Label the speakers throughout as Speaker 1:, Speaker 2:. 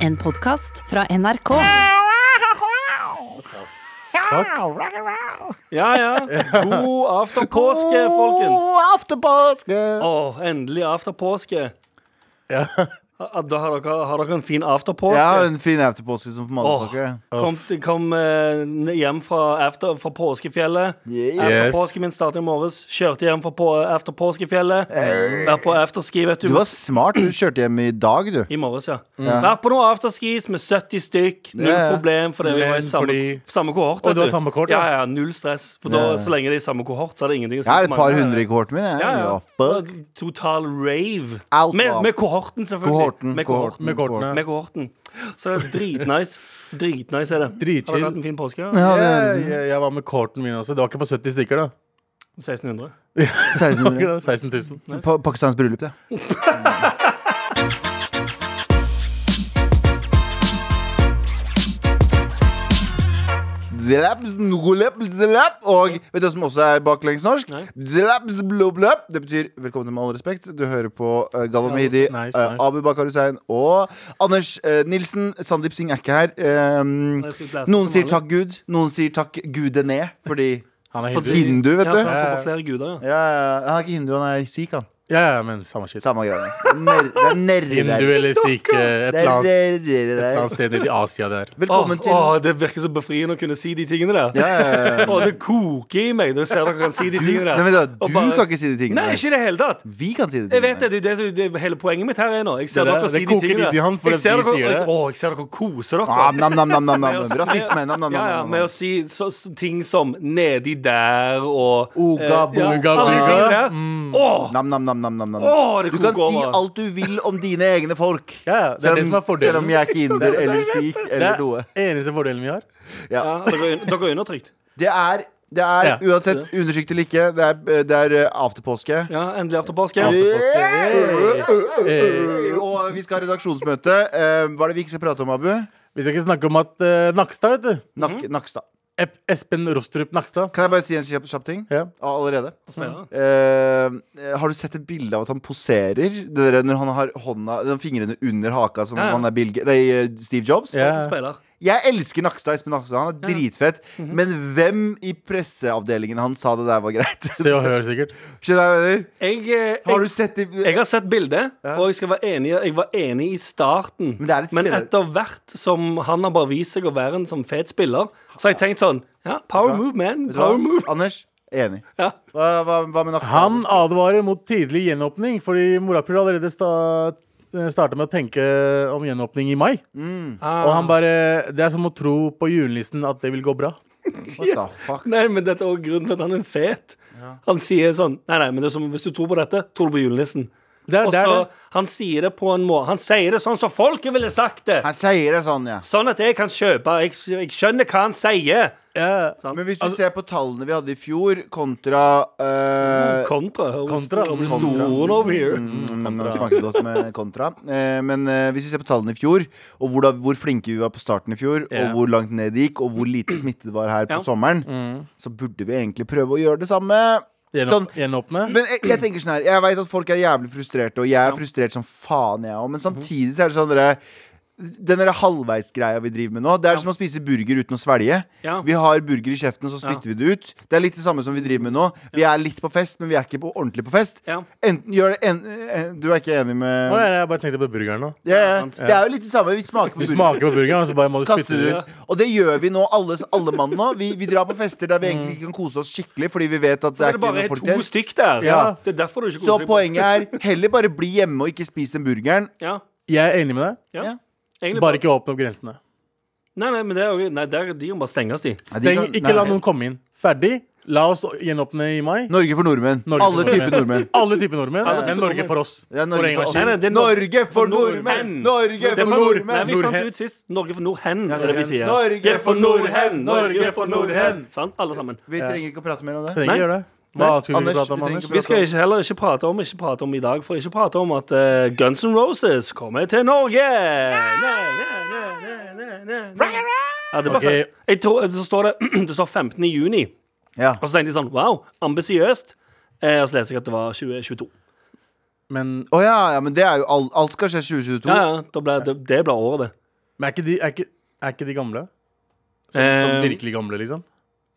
Speaker 1: En podkast fra NRK.
Speaker 2: Ja, ja. God afterpåske, folkens.
Speaker 3: God afterpåske!
Speaker 2: Å, endelig afterpåske. Ja. Da har dere, har dere en fin afterpåske.
Speaker 3: Jeg har en fin afterpåske som
Speaker 2: Åh,
Speaker 3: motherfucker.
Speaker 2: kom kom eh, hjem fra, after, fra påskefjellet.
Speaker 3: Yeah.
Speaker 2: After
Speaker 4: Yes.
Speaker 2: påsken min startet i morges. Kjørte hjem fra på, after påskefjellet. Vært på afterski, vet du.
Speaker 3: Du var smart. Du kjørte hjem i dag, du.
Speaker 2: I morges, ja. Vært på noen afterskis med 70 stykk. Null
Speaker 3: Ja, ja.
Speaker 2: problem, fordi vi var i
Speaker 4: Men
Speaker 2: samme,
Speaker 4: fordi-
Speaker 2: samme kohort.
Speaker 4: Og det
Speaker 2: vet
Speaker 4: var samme kohort,
Speaker 2: ja.
Speaker 4: ja.
Speaker 2: ja, ja. Null stress. For da,
Speaker 3: Ja, ja.
Speaker 2: så lenge det er i samme kohort, så er det ingenting å si
Speaker 3: Jeg har
Speaker 2: for
Speaker 3: et par
Speaker 2: mange.
Speaker 3: hundre i kohorten min. Jeg.
Speaker 2: Ja, ja.
Speaker 3: Ja, Fuck.
Speaker 2: Total rave.
Speaker 3: Outlaw.
Speaker 2: Med, med kohorten, selvfølgelig.
Speaker 3: Kohorten.
Speaker 2: Med kohorten.
Speaker 4: Med kortene.
Speaker 2: Med kohorten. Så det er dritnice. Dritnice er det.
Speaker 4: Dritchill.
Speaker 2: Har dere hatt en fin påske? da?
Speaker 3: Ja, det
Speaker 4: Jeg,
Speaker 3: er
Speaker 4: jeg, jeg var med korten min også. Det var ikke på 70 stykker, da.
Speaker 2: 1600.
Speaker 3: 1600.
Speaker 4: Akkurat 16 000.
Speaker 3: Pa Pakistans bryllup, det. Zlap, zlap, zlap. Og vet du hva som også er baklengs norsk?
Speaker 2: Nei.
Speaker 3: Zlap, zlop, zlap. Det betyr velkommen til Med all respekt. Du hører på uh, Gallo Mehidi,
Speaker 4: nice,
Speaker 3: eh,
Speaker 4: nice.
Speaker 3: Abu Bakar Hussein og Anders eh, Nilsen. Sandeep Singh er ikke her. Ehm,
Speaker 2: Jeg skal ikke lese
Speaker 3: noen
Speaker 2: som
Speaker 3: sier
Speaker 2: vanlig.
Speaker 3: takk Gud, noen sier takk gudene, fordi
Speaker 4: Han er
Speaker 2: Fordi-
Speaker 4: hindu.
Speaker 3: hindu, vet
Speaker 2: Ja,
Speaker 3: du.
Speaker 2: for han tror på flere guder, ja.
Speaker 3: Ja, ja, ja. han er ikke hindu, han er sikh, han.
Speaker 4: Ja, ja, men samme shit.
Speaker 3: Samme greiene. Ner- Det er nerre
Speaker 4: Hindu
Speaker 3: der.
Speaker 4: eller sikh, eh, et eller
Speaker 3: Det er
Speaker 4: annet-
Speaker 3: nerre
Speaker 4: et eller annet
Speaker 3: der.
Speaker 4: sted nede i Asia der.
Speaker 3: Velkommen
Speaker 2: Åh,
Speaker 3: til
Speaker 2: åh, det virker så befriende å kunne si de tingene der.
Speaker 3: ja, ja, ja.
Speaker 2: Åh, det koker i meg når jeg ser dere kan si de tingene der.
Speaker 3: Nei, vent da,
Speaker 2: Og
Speaker 3: Du
Speaker 2: bare-
Speaker 3: kan ikke si de tingene.
Speaker 2: Nei, ikke i det hele tatt.
Speaker 3: Vi kan si de
Speaker 2: Jeg vet
Speaker 3: tingene.
Speaker 2: det, det, er det, det, det hele poenget mitt her er nå. Jeg ser
Speaker 4: Det der-
Speaker 2: dere
Speaker 4: det
Speaker 2: si de
Speaker 4: koker
Speaker 2: tingene.
Speaker 4: litt i han for
Speaker 2: jeg,
Speaker 4: at
Speaker 2: ser
Speaker 4: vi
Speaker 2: dere,
Speaker 4: sier det.
Speaker 2: Å, jeg ser dere koser dere.
Speaker 3: Ah, nam, nam, nam, nam, nam.
Speaker 2: Med å-
Speaker 3: Rasisme. Nam, nam, nam,
Speaker 2: ja, ja,
Speaker 3: nam,
Speaker 2: med
Speaker 3: nam.
Speaker 2: å si så, s- ting som 'nedi der' og
Speaker 3: Oga
Speaker 2: eh, ja,
Speaker 4: boga
Speaker 2: alle de tingene
Speaker 4: boga.
Speaker 2: der. Åh,
Speaker 3: Nam, nam, nam, nam, nam, nam.
Speaker 2: åh, det
Speaker 3: Du kan
Speaker 2: koker
Speaker 3: si
Speaker 2: over.
Speaker 3: alt du vil om dine egne folk.
Speaker 4: Ja, ja, det er det som er fordelen.
Speaker 3: selv om jeg er ikke inder eller sikh eller noe.
Speaker 4: Det er eneste fordelen vi har.
Speaker 2: Ja, dere, er- dere er undertrykt.
Speaker 3: Det er, det er
Speaker 4: Ja.
Speaker 3: uansett undertrykt eller ikke, det er, det er eh, afterpåske.
Speaker 2: Ja, endelig after påske.
Speaker 3: Yeah!
Speaker 4: Eh,
Speaker 3: Og vi skal ha redaksjonsmøte. Eh, Hva er det vi ikke skal prate om, Abu?
Speaker 4: vi skal ikke snakke om at eh, Nakstad, vet du.
Speaker 3: Nak Nakstad.
Speaker 4: Ep Espen Rostrup Nakstad.
Speaker 3: Kan jeg bare si en kjapp, kjapp ting?
Speaker 4: Ja.
Speaker 3: Ah, Allerede.
Speaker 2: Ja.
Speaker 3: Eh, har du sett et bilde av at han poserer? Det der, når han har hånda, den fingrene under haka som
Speaker 2: Ja, ja.
Speaker 3: om han er Bill, Ga- nei, eh, Steve Jobs?
Speaker 4: Ja.
Speaker 2: Speiler.
Speaker 3: Jeg elsker Nakstad. Espen Nakstad han er dritfett. Men hvem i presseavdelingen han sa det der var greit?
Speaker 4: Se og hør, sikkert.
Speaker 3: Skjønner du hva jeg mener?
Speaker 2: Jeg, eh,
Speaker 3: Har du
Speaker 2: jeg,
Speaker 3: sett det?
Speaker 2: jeg har sett bildet,
Speaker 3: Ja.
Speaker 2: og jeg, skal være enig, jeg var enig i starten.
Speaker 3: Men det er litt
Speaker 2: Men
Speaker 3: spiller-
Speaker 2: etter hvert som han har bare vist seg å være en sånn fet spiller, så har jeg tenkt sånn Ja, power
Speaker 3: Hva?
Speaker 2: move, man.
Speaker 3: Vet du hva?
Speaker 2: Power move.
Speaker 3: Anders? Enig.
Speaker 2: Ja.
Speaker 3: Hva, hva, hva med Nakstad?
Speaker 4: Han advarer mot tidlig gjenåpning, fordi morapuler allerede sta starta med å tenke om gjenåpning i mai.
Speaker 3: Mm.
Speaker 4: Og
Speaker 2: Ah.
Speaker 4: han bare Det er som å tro på julenissen at det vil gå bra.
Speaker 3: What the fuck?
Speaker 2: Nei, men dette er også grunnen til at han er fet. Han sier sånn Nei, nei, men det er som, hvis du tror på dette, tror du på julenissen.
Speaker 4: Det er,
Speaker 2: Og
Speaker 4: det er
Speaker 2: så
Speaker 4: det.
Speaker 2: Han sier det på en må Han sier det sånn som folket ville sagt det.
Speaker 3: Han sier det sånn, ja.
Speaker 2: Sånn at jeg kan kjøpe. Jeg, jeg skjønner hva han sier.
Speaker 4: Ja.
Speaker 3: Men hvis du ser på tallene vi hadde i fjor, kontra eh,
Speaker 2: Kontra.
Speaker 4: Kontra.
Speaker 2: Over stolen over here.
Speaker 3: mm, Det smaker godt med kontra. Eh, men eh, hvis vi ser på tallene i fjor, og hvor, da, hvor flinke vi var på starten i fjor,
Speaker 4: Ja.
Speaker 3: og hvor langt ned det gikk, og hvor lite smitte det var her på
Speaker 2: Ja.
Speaker 3: sommeren, så burde vi egentlig prøve å gjøre det samme.
Speaker 4: Gjenåp,
Speaker 3: Sånn.
Speaker 4: gjenåpne.
Speaker 3: Men jeg, jeg tenker sånn her Jeg vet at folk er jævlig frustrerte, og jeg er frustrert som faen, jeg
Speaker 2: Mhm.
Speaker 3: òg, men samtidig så er det sånn dere den der halvveisgreia vi driver med nå, det er som å spise burger uten å svelge.
Speaker 2: Ja.
Speaker 3: Vi har burger i kjeften, og så spytter vi det ut. Det er litt det samme som vi driver med nå. Vi er litt på fest, men vi er ikke på ordentlig på fest.
Speaker 2: Ja.
Speaker 3: Enten gjør det en, en, Du er ikke enig med
Speaker 4: Å, jeg, jeg bare tenkte på burgeren nå.
Speaker 3: ja, ja. Det er jo litt det samme. Vi smaker på
Speaker 4: Du
Speaker 3: burger.
Speaker 4: smaker på burgeren, og så bare må du spytte
Speaker 3: Kaster
Speaker 4: det
Speaker 3: det
Speaker 4: ut.
Speaker 3: ut. Og det gjør vi nå, alle, alle mann nå. Vi, vi drar på fester der vi egentlig ikke kan kose oss skikkelig, fordi vi vet at
Speaker 2: Mm. Det
Speaker 3: det er
Speaker 2: er
Speaker 3: ikke
Speaker 2: bare
Speaker 3: noen folk
Speaker 2: to
Speaker 3: der.
Speaker 2: stykk der.
Speaker 3: Ja.
Speaker 2: Det er derfor du ikke
Speaker 3: Så
Speaker 2: koser deg på-
Speaker 3: poenget er heller bare bli hjemme og ikke spis den burgeren.
Speaker 2: ja.
Speaker 4: Jeg er enig med deg.
Speaker 2: Ja.
Speaker 3: Ja.
Speaker 2: Egentlig
Speaker 4: Bare ikke åpne opp grensene.
Speaker 2: Nei, nei, men det er, jo- nei, der, de kan bare stenges, de.
Speaker 3: Nei, de
Speaker 4: Steng,
Speaker 3: kan-
Speaker 4: ikke la
Speaker 3: nei.
Speaker 4: noen komme inn. Ferdig. La oss gjenåpne i mai.
Speaker 3: Norge for nordmenn.
Speaker 4: Norge for
Speaker 3: alle typer nordmenn.
Speaker 4: Alle typer nordmenn.
Speaker 2: Alle typer
Speaker 4: Men Norge
Speaker 2: nordmenn.
Speaker 4: for oss.
Speaker 3: Ja, Norge
Speaker 4: for en
Speaker 3: for
Speaker 4: gangs
Speaker 3: oss.
Speaker 2: Nei,
Speaker 4: skyld.
Speaker 2: nei, det er Nor-
Speaker 3: Norge for nordmenn! Norge
Speaker 2: Det er
Speaker 3: for
Speaker 2: for nord. Nei,
Speaker 3: nordmenn!
Speaker 2: vi fant
Speaker 4: Nordhen.
Speaker 2: ut sist. Norge for nordhen, er det vi sier.
Speaker 3: Norge for nordhen! Norge for nordhen!
Speaker 2: Sant, alle sammen.
Speaker 3: Vi trenger ikke å prate mer om det.
Speaker 4: Trenger ikke gjøre det. Hva
Speaker 2: Nei.
Speaker 4: skal vi
Speaker 3: Anders,
Speaker 4: prate om,
Speaker 3: vi trenger
Speaker 4: Anders?
Speaker 3: ikke
Speaker 2: Vi skal ikke, heller ikke prate om ikke prate om i dag, for ikke prate om at eh, Guns N' Roses kommer til Norge! Næ, næ, næ, næ, næ, næ, næ. Ja, det var
Speaker 4: Ok.
Speaker 2: fett. Jeg tror, så står det, det står 15. juni,
Speaker 3: Ja.
Speaker 2: og så tenkte jeg sånn wow, ambisiøst. Eh, og så leste jeg at det var 2022.
Speaker 4: Men
Speaker 3: Å ja, ja, men det er jo alt, alt skal skje 2022.
Speaker 2: Ja, ja, da ble, det, det ble året, det.
Speaker 4: Men er ikke de, er ikke, er ikke de gamle? Sånn, sånn
Speaker 2: Eh,
Speaker 4: virkelig gamle, liksom?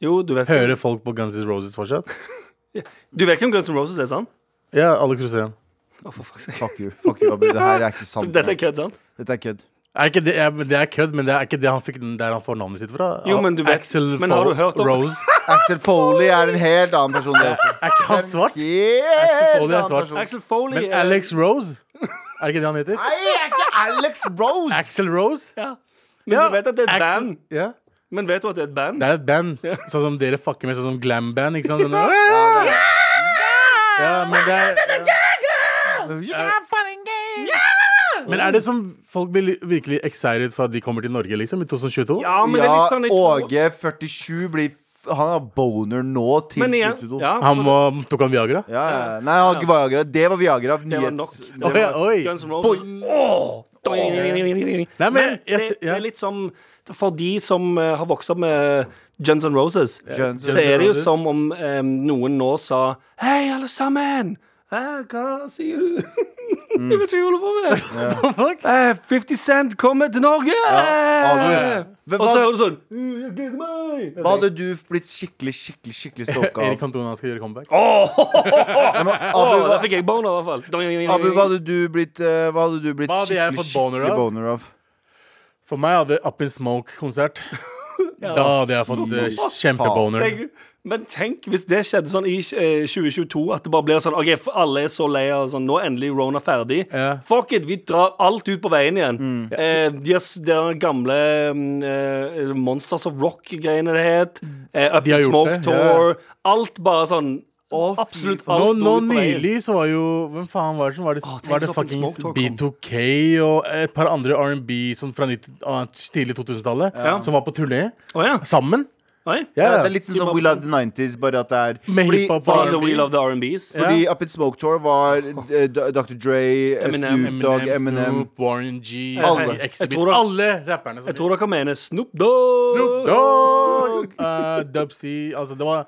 Speaker 2: jo, du vet,
Speaker 4: Hører folk på Guns N' Roses fortsatt?
Speaker 2: du vet ikke om Guns N' Roses er sant?
Speaker 4: Ja, Alex Rosén.
Speaker 2: Å, for fuck's sake.
Speaker 3: Fuck you. Fuck you, Abu. Det her er ikke sant.
Speaker 2: Dette er kødd, sant?
Speaker 3: Dette er kødd.
Speaker 4: Er ikke det, ja, men det er kødd, men det er ikke det han fikk der han får navnet sitt fra?
Speaker 2: Jo, men du vet-
Speaker 4: Axel
Speaker 2: men har du
Speaker 4: Fo-
Speaker 2: hørt om-
Speaker 4: Rose.
Speaker 3: Axel Foley er en helt annen person, det også.
Speaker 4: Er ikke han svart? Axel
Speaker 3: Helt
Speaker 4: Foley er
Speaker 3: annen
Speaker 4: svart.
Speaker 3: person.
Speaker 2: Axel Foley
Speaker 4: Men
Speaker 2: er-
Speaker 4: Alex Rose? Er ikke det han heter?
Speaker 3: Nei, jeg er ikke Alex Rose!
Speaker 4: Axel Rose?
Speaker 2: ja. Men du vet at det er et
Speaker 4: Axl-
Speaker 2: band?
Speaker 4: Ja,
Speaker 2: Men vet du at det er et band?
Speaker 4: det er et band. Sånn som dere fucker med, sånn som glam-band. Ikke sant? Sånn, ja, men, det er, men er det som folk blir virkelig excited for at de kommer til Norge, liksom? I 2022?
Speaker 2: Ja, men det er
Speaker 3: Ja,
Speaker 2: litt sånn jeg tror-
Speaker 3: Åge 47 blir f- Han har boner nå til
Speaker 2: Men igjen,
Speaker 3: 2022.
Speaker 2: ja,
Speaker 4: Han må, tok han Viagra?
Speaker 3: Ja, ja. Nei, han har ikke Viagra. Det var Viagra.
Speaker 2: var
Speaker 3: Nyhets-
Speaker 2: nok.
Speaker 3: Det
Speaker 4: Oi,
Speaker 3: var-
Speaker 4: oi.
Speaker 2: Guns N' Roses Åh!
Speaker 4: Nei, men
Speaker 2: Men
Speaker 4: jeg
Speaker 2: det,
Speaker 4: s-
Speaker 2: det
Speaker 4: ja.
Speaker 2: er litt som For de som eh, har vokst opp med Guns N' Roses,
Speaker 3: Guns
Speaker 2: så
Speaker 3: N'
Speaker 2: er det jo
Speaker 4: Roses.
Speaker 2: som om eh, noen nå sa Hei, alle sammen! Hæ, hva sier du?
Speaker 4: Mm.
Speaker 2: jeg vet ikke hva jeg holder på med.
Speaker 4: Fuck.
Speaker 2: Eh, 50 Cent kommer til Norge!
Speaker 3: Ja, Abu.
Speaker 2: Og så er hun sånn «Uh, Jeg gleder meg!
Speaker 3: Hva hadde du blitt skikkelig, skikkelig, skikkelig stalka
Speaker 4: Erik
Speaker 3: av?
Speaker 4: Cantona skal gjøre comeback.
Speaker 3: Nei, men
Speaker 2: Åh,
Speaker 3: Abu,
Speaker 2: der
Speaker 3: hva,
Speaker 2: fikk jeg boner, i hvert fall.
Speaker 3: Abu, hva hadde du blitt, eh, hva hadde du blitt
Speaker 4: Hva hadde jeg
Speaker 3: skikkelig,
Speaker 4: fått boner
Speaker 3: skikkelig
Speaker 4: av?
Speaker 3: boner av?
Speaker 4: For meg hadde Up in Smoke-konsert. Da hadde jeg fått eh, kjempeboner.
Speaker 2: Tenk, men tenk hvis det skjedde sånn i eh, 2022, at det bare blir sånn OK, f- alle er så lei av sånn Nå er endelig Rona ferdig.
Speaker 4: Ja. Mm.
Speaker 2: Fuck it, vi drar alt ut på veien igjen. Eh, de, har, s- de har den gamle mm, eh, Monsters of Rock-greiene det het. Eh, Up
Speaker 4: Mm. De har
Speaker 2: in
Speaker 4: gjort
Speaker 2: Smoke
Speaker 4: det, ja.
Speaker 2: Tour. Alt bare sånn
Speaker 3: Å, fy
Speaker 2: Absolutt
Speaker 3: faen.
Speaker 2: alt
Speaker 4: Nå,
Speaker 2: dro
Speaker 4: nå
Speaker 2: ut på veien.
Speaker 4: nylig så var jo Hvem faen var det som var det?
Speaker 2: Å, tenk
Speaker 4: var det
Speaker 2: hvis Up in
Speaker 4: fuckings
Speaker 2: Smoke da kom.
Speaker 4: B2K og et par andre R&B sånn fra 90, ah, tidlig 2000-tallet
Speaker 2: Ja.
Speaker 4: som var på turné
Speaker 2: Å ja.
Speaker 4: sammen?
Speaker 2: Oi.
Speaker 3: Ja,
Speaker 4: Ja,
Speaker 3: det er litt sånn som We Love the 90s, bare at det er
Speaker 4: Med
Speaker 3: fordi-
Speaker 4: hiphop
Speaker 2: For the
Speaker 4: R&B.
Speaker 2: wheel of the R&Bs.
Speaker 4: Ja.
Speaker 3: Fordi Up in Smoke Tour var eh, D- Dr. Dre, eh,
Speaker 2: Eminem.
Speaker 3: Snoop Dogg, Eminem
Speaker 4: Snoop, Warren G,
Speaker 3: Alle.
Speaker 4: Exhibit,
Speaker 2: Jeg tror det-
Speaker 4: alle rapperne. Som
Speaker 2: Jeg tror dere mener Snoop Dogg.
Speaker 4: Snoop Dogg! Eh, Dub C. Altså, det var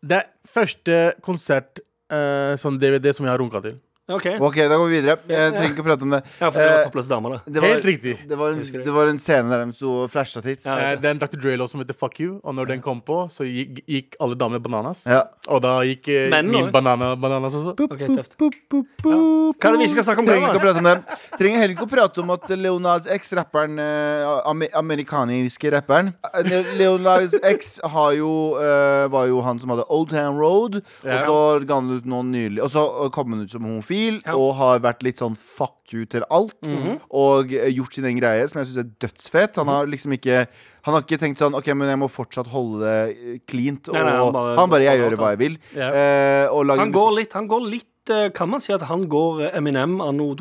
Speaker 4: Det er første konsert eh, sånn DVD som jeg har runka til.
Speaker 2: OK.
Speaker 3: Ok, da går vi videre. Jeg trenger ikke å prate om det.
Speaker 2: Ja, for det
Speaker 3: Eh,
Speaker 2: var toppløse damer, det.
Speaker 3: det var,
Speaker 4: Helt riktig.
Speaker 3: Det var, en,
Speaker 2: husker det.
Speaker 3: det var en scene der de sto og flasha tits.
Speaker 2: Ja.
Speaker 4: Eh, Det er en Dr. Dre-låt som heter Fuck You, og når den kom på, så gikk, gikk alle damer bananas.
Speaker 3: Ja.
Speaker 4: Og da gikk eh,
Speaker 2: Men nå,
Speaker 4: min
Speaker 2: eh?
Speaker 4: banana bananas også.
Speaker 2: Ok, tøft. Ja. Hva er det vi ikke skal snakke om?
Speaker 3: Trenger ikke å
Speaker 2: da?
Speaker 3: prate om det. Trenger heller ikke å prate om at Leonards X, rapperen eh, ame- amerikanske rapperen eh, Leonards X har jo, eh, var jo han som hadde Old Town Road,
Speaker 4: Ja.
Speaker 3: og så ga han ut noe nylig. Og så eh, kom han ut som homofil,
Speaker 2: Ja. Mhm.
Speaker 3: og har vært litt sånn fuck you til alt. Og eh, gjort sin egen greie, som jeg syns er dødsfett. Han har liksom ikke Han har ikke tenkt sånn OK, men jeg må fortsatt holde det eh, cleant. Og
Speaker 2: Nei, nei, han
Speaker 3: han,
Speaker 2: bare-
Speaker 3: bare, Jeg gjør hva jeg vil.
Speaker 4: Ja.
Speaker 3: eh, og lager
Speaker 2: Han går litt, han går litt eh, Kan man si at han går eh, Eminem anno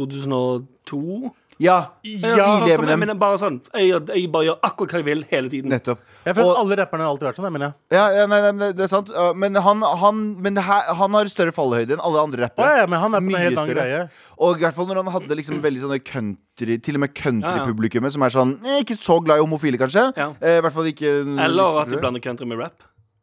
Speaker 2: 2002?
Speaker 3: musikk- Ja.
Speaker 2: sånn som
Speaker 3: tidlig Eminem.
Speaker 2: Eminem bare sånn jeg, gjør- jeg bare gjør akkurat hva jeg vil hele tiden.
Speaker 3: Nettopp.
Speaker 4: Jeg føler
Speaker 3: Og-
Speaker 4: at alle rapperne har alltid vært sånn, jeg mener jeg.
Speaker 3: Ja, ja nei, nei, men det- det er sant. Uh, Men han, han, men det her, han har større fallhøyde enn alle andre
Speaker 4: Ja,
Speaker 3: rappere.
Speaker 4: ja, men han er på en
Speaker 3: Mye
Speaker 4: helt annen
Speaker 3: større.
Speaker 4: greie.
Speaker 3: Og i hvert fall når han hadde liksom veldig sånne country Til og med
Speaker 2: Ja, ja.
Speaker 3: countrypublikummet, som er sånn eh, Ikke så glad i homofile, kanskje.
Speaker 2: Ja.
Speaker 3: Eh, I hvert fall ikke
Speaker 2: Eller at du blander country med rap.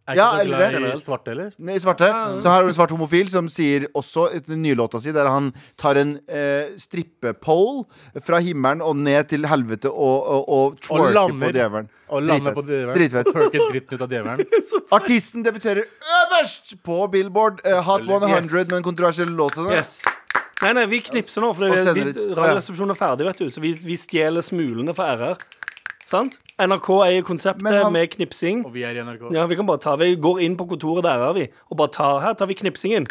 Speaker 4: Er
Speaker 3: Ja,
Speaker 4: ikke så glad
Speaker 3: eller det.
Speaker 4: i svarte heller.
Speaker 3: Nei, svarte. Så her har du en svart homofil som sier også i den nye låta si, der han tar en eh, strippepole fra himmelen og ned til helvete og, og, og twerker
Speaker 4: lander.
Speaker 3: på djevelen.
Speaker 4: Og lander
Speaker 3: Dritfett.
Speaker 4: på djevelen.
Speaker 3: Dritfett.
Speaker 4: Twerket dritten ut av djevelen.
Speaker 3: Artisten debuterer øverst på Billboard eh, Hot 100
Speaker 4: Yes.
Speaker 3: med en kontroversiell låt. til den.
Speaker 2: Yes. Nei, nei, vi knipser nå, for
Speaker 3: Og
Speaker 2: det-
Speaker 3: sender
Speaker 2: vi-
Speaker 3: det- Å, ja.
Speaker 2: Radioresepsjonen er ferdig, vet du. Så vi, vi stjeler smulene fra RR. Sant? NRK eier konseptet
Speaker 3: Men han-
Speaker 2: med knipsing.
Speaker 4: Og vi er i NRK.
Speaker 2: Ja, vi kan bare ta, vi går inn på kontoret der, er vi, og bare tar, her tar vi knipsingen.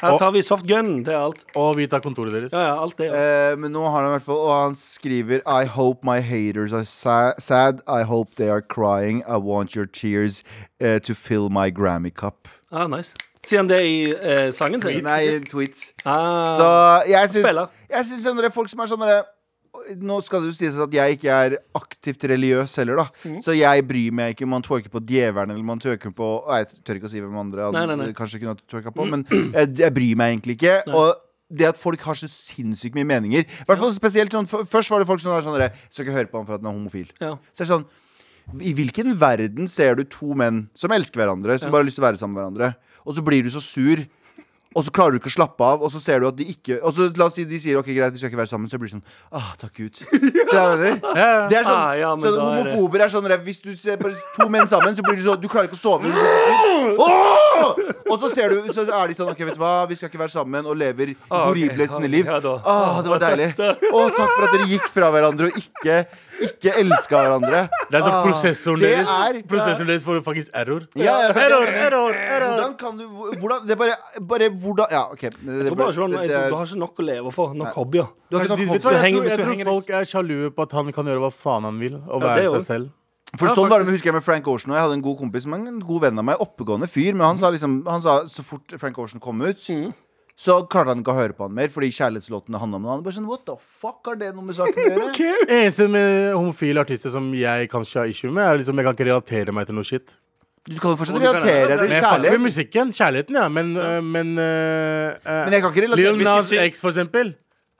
Speaker 2: Her
Speaker 4: Og-
Speaker 2: tar vi softgun til alt.
Speaker 4: Og vi tar kontoret deres.
Speaker 2: Ja, ja, alt det. Ja.
Speaker 3: Eh, men nå har han i hvert fall Og han skriver I hope my haters are sa sad I hope they are crying I want your tears eh, to fill my Grammy cup
Speaker 2: Ah, nice. Sier han det i eh, sangen sin?
Speaker 3: Nei, tweets
Speaker 2: Ah,
Speaker 3: Så jeg
Speaker 2: Spiller.
Speaker 3: syns, jeg syns sånne folk som er sånn derre nå skal det jo sies at jeg ikke er aktivt religiøs heller, da.
Speaker 2: Mhm.
Speaker 3: Så jeg bryr meg ikke om man twerker på djevelen eller om man twerker på Nei, Jeg tør ikke å si hvem andre han
Speaker 2: Nei, nei, nei. Mm.
Speaker 3: kanskje kunne ha twerka på, men jeg, jeg bryr meg egentlig ikke. Og det at folk har så sinnssykt mye meninger I hvert fall spesielt sånn, f- Først var det folk som var sånn derre Skal ikke høre på han for at han er homofil.
Speaker 2: ja.
Speaker 3: Så det er sånn I hvilken verden ser du to menn som elsker hverandre, som bare har lyst til å være sammen med hverandre, og så blir du så sur? Og og så klarer du ikke å slappe av, og så ser du at de ikke Og så la oss si de sier ok, greit, vi skal ikke være sammen, så blir det sånn ah, takk Gud. Så jeg mener
Speaker 4: Ja, ja.
Speaker 3: det er sånn,
Speaker 2: Ah, ja, men
Speaker 3: sånn
Speaker 2: da er det-
Speaker 3: Homofober er sånn der, Hvis du ser bare to menn sammen, så blir du sånn Du klarer ikke å sove. Du blir så sur. Åh! Og så ser du Så er de sånn Ok, vet du hva, vi skal ikke være sammen, og lever
Speaker 2: Ah, ok.
Speaker 3: horrible sine liv.
Speaker 2: Ja, da.
Speaker 3: Åh, det var deilig. Å, takk for at dere gikk fra hverandre og ikke, ikke elska hverandre.
Speaker 4: Det er sånn
Speaker 3: Ah,
Speaker 4: prosessoren
Speaker 3: det
Speaker 4: deres
Speaker 3: er-
Speaker 4: Prosessoren deres får faktisk error.
Speaker 3: Ja, ja, men det-
Speaker 4: error, error, error
Speaker 3: Hvordan kan du Hvordan Det er bare, bare hvordan Ja, OK. Det, det,
Speaker 2: Jeg tror bare ikke,
Speaker 3: det-
Speaker 2: man- jeg
Speaker 3: det
Speaker 2: tror
Speaker 3: er-
Speaker 2: du har ikke nok å leve for. Nok hobbyer.
Speaker 3: du har ikke
Speaker 4: Du- vet
Speaker 3: nok
Speaker 4: du
Speaker 3: hopp.
Speaker 4: hva,
Speaker 2: Du
Speaker 4: jeg,
Speaker 2: henger-
Speaker 4: tror, jeg
Speaker 2: hvis du
Speaker 4: tror
Speaker 2: henger-
Speaker 4: folk er sjalu på at han kan gjøre hva faen han vil, og
Speaker 2: Ja, det
Speaker 4: være
Speaker 2: er jo-
Speaker 4: seg selv.
Speaker 3: For sånn var det med, husker jeg med Frank Ocean. Og jeg hadde en god kompis som er en god venn av meg, oppegående fyr. Men han sa liksom han sa, så fort Frank Ocean kom ut,
Speaker 4: Mm.
Speaker 3: så klarte han ikke å høre på han mer. Fordi kjærlighetslåtene handla om noe annet. Bare sånn, What the fuck har det noe med saken å gjøre?
Speaker 4: Eneste med homofile artister som jeg kanskje har issue med, er liksom jeg kan ikke relatere meg til noe shit.
Speaker 3: Du kan jo fortsatt
Speaker 2: Jo, du kan
Speaker 3: relatere
Speaker 2: det.
Speaker 3: deg til
Speaker 4: Men jeg fucker med
Speaker 3: kjærlighet.
Speaker 4: musikken. Kjærligheten, ja. Men, øh, men, øh, øh,
Speaker 3: Men jeg kan ikke relatere
Speaker 4: Lil
Speaker 2: de
Speaker 4: Nas
Speaker 2: sier-
Speaker 4: X, for eksempel.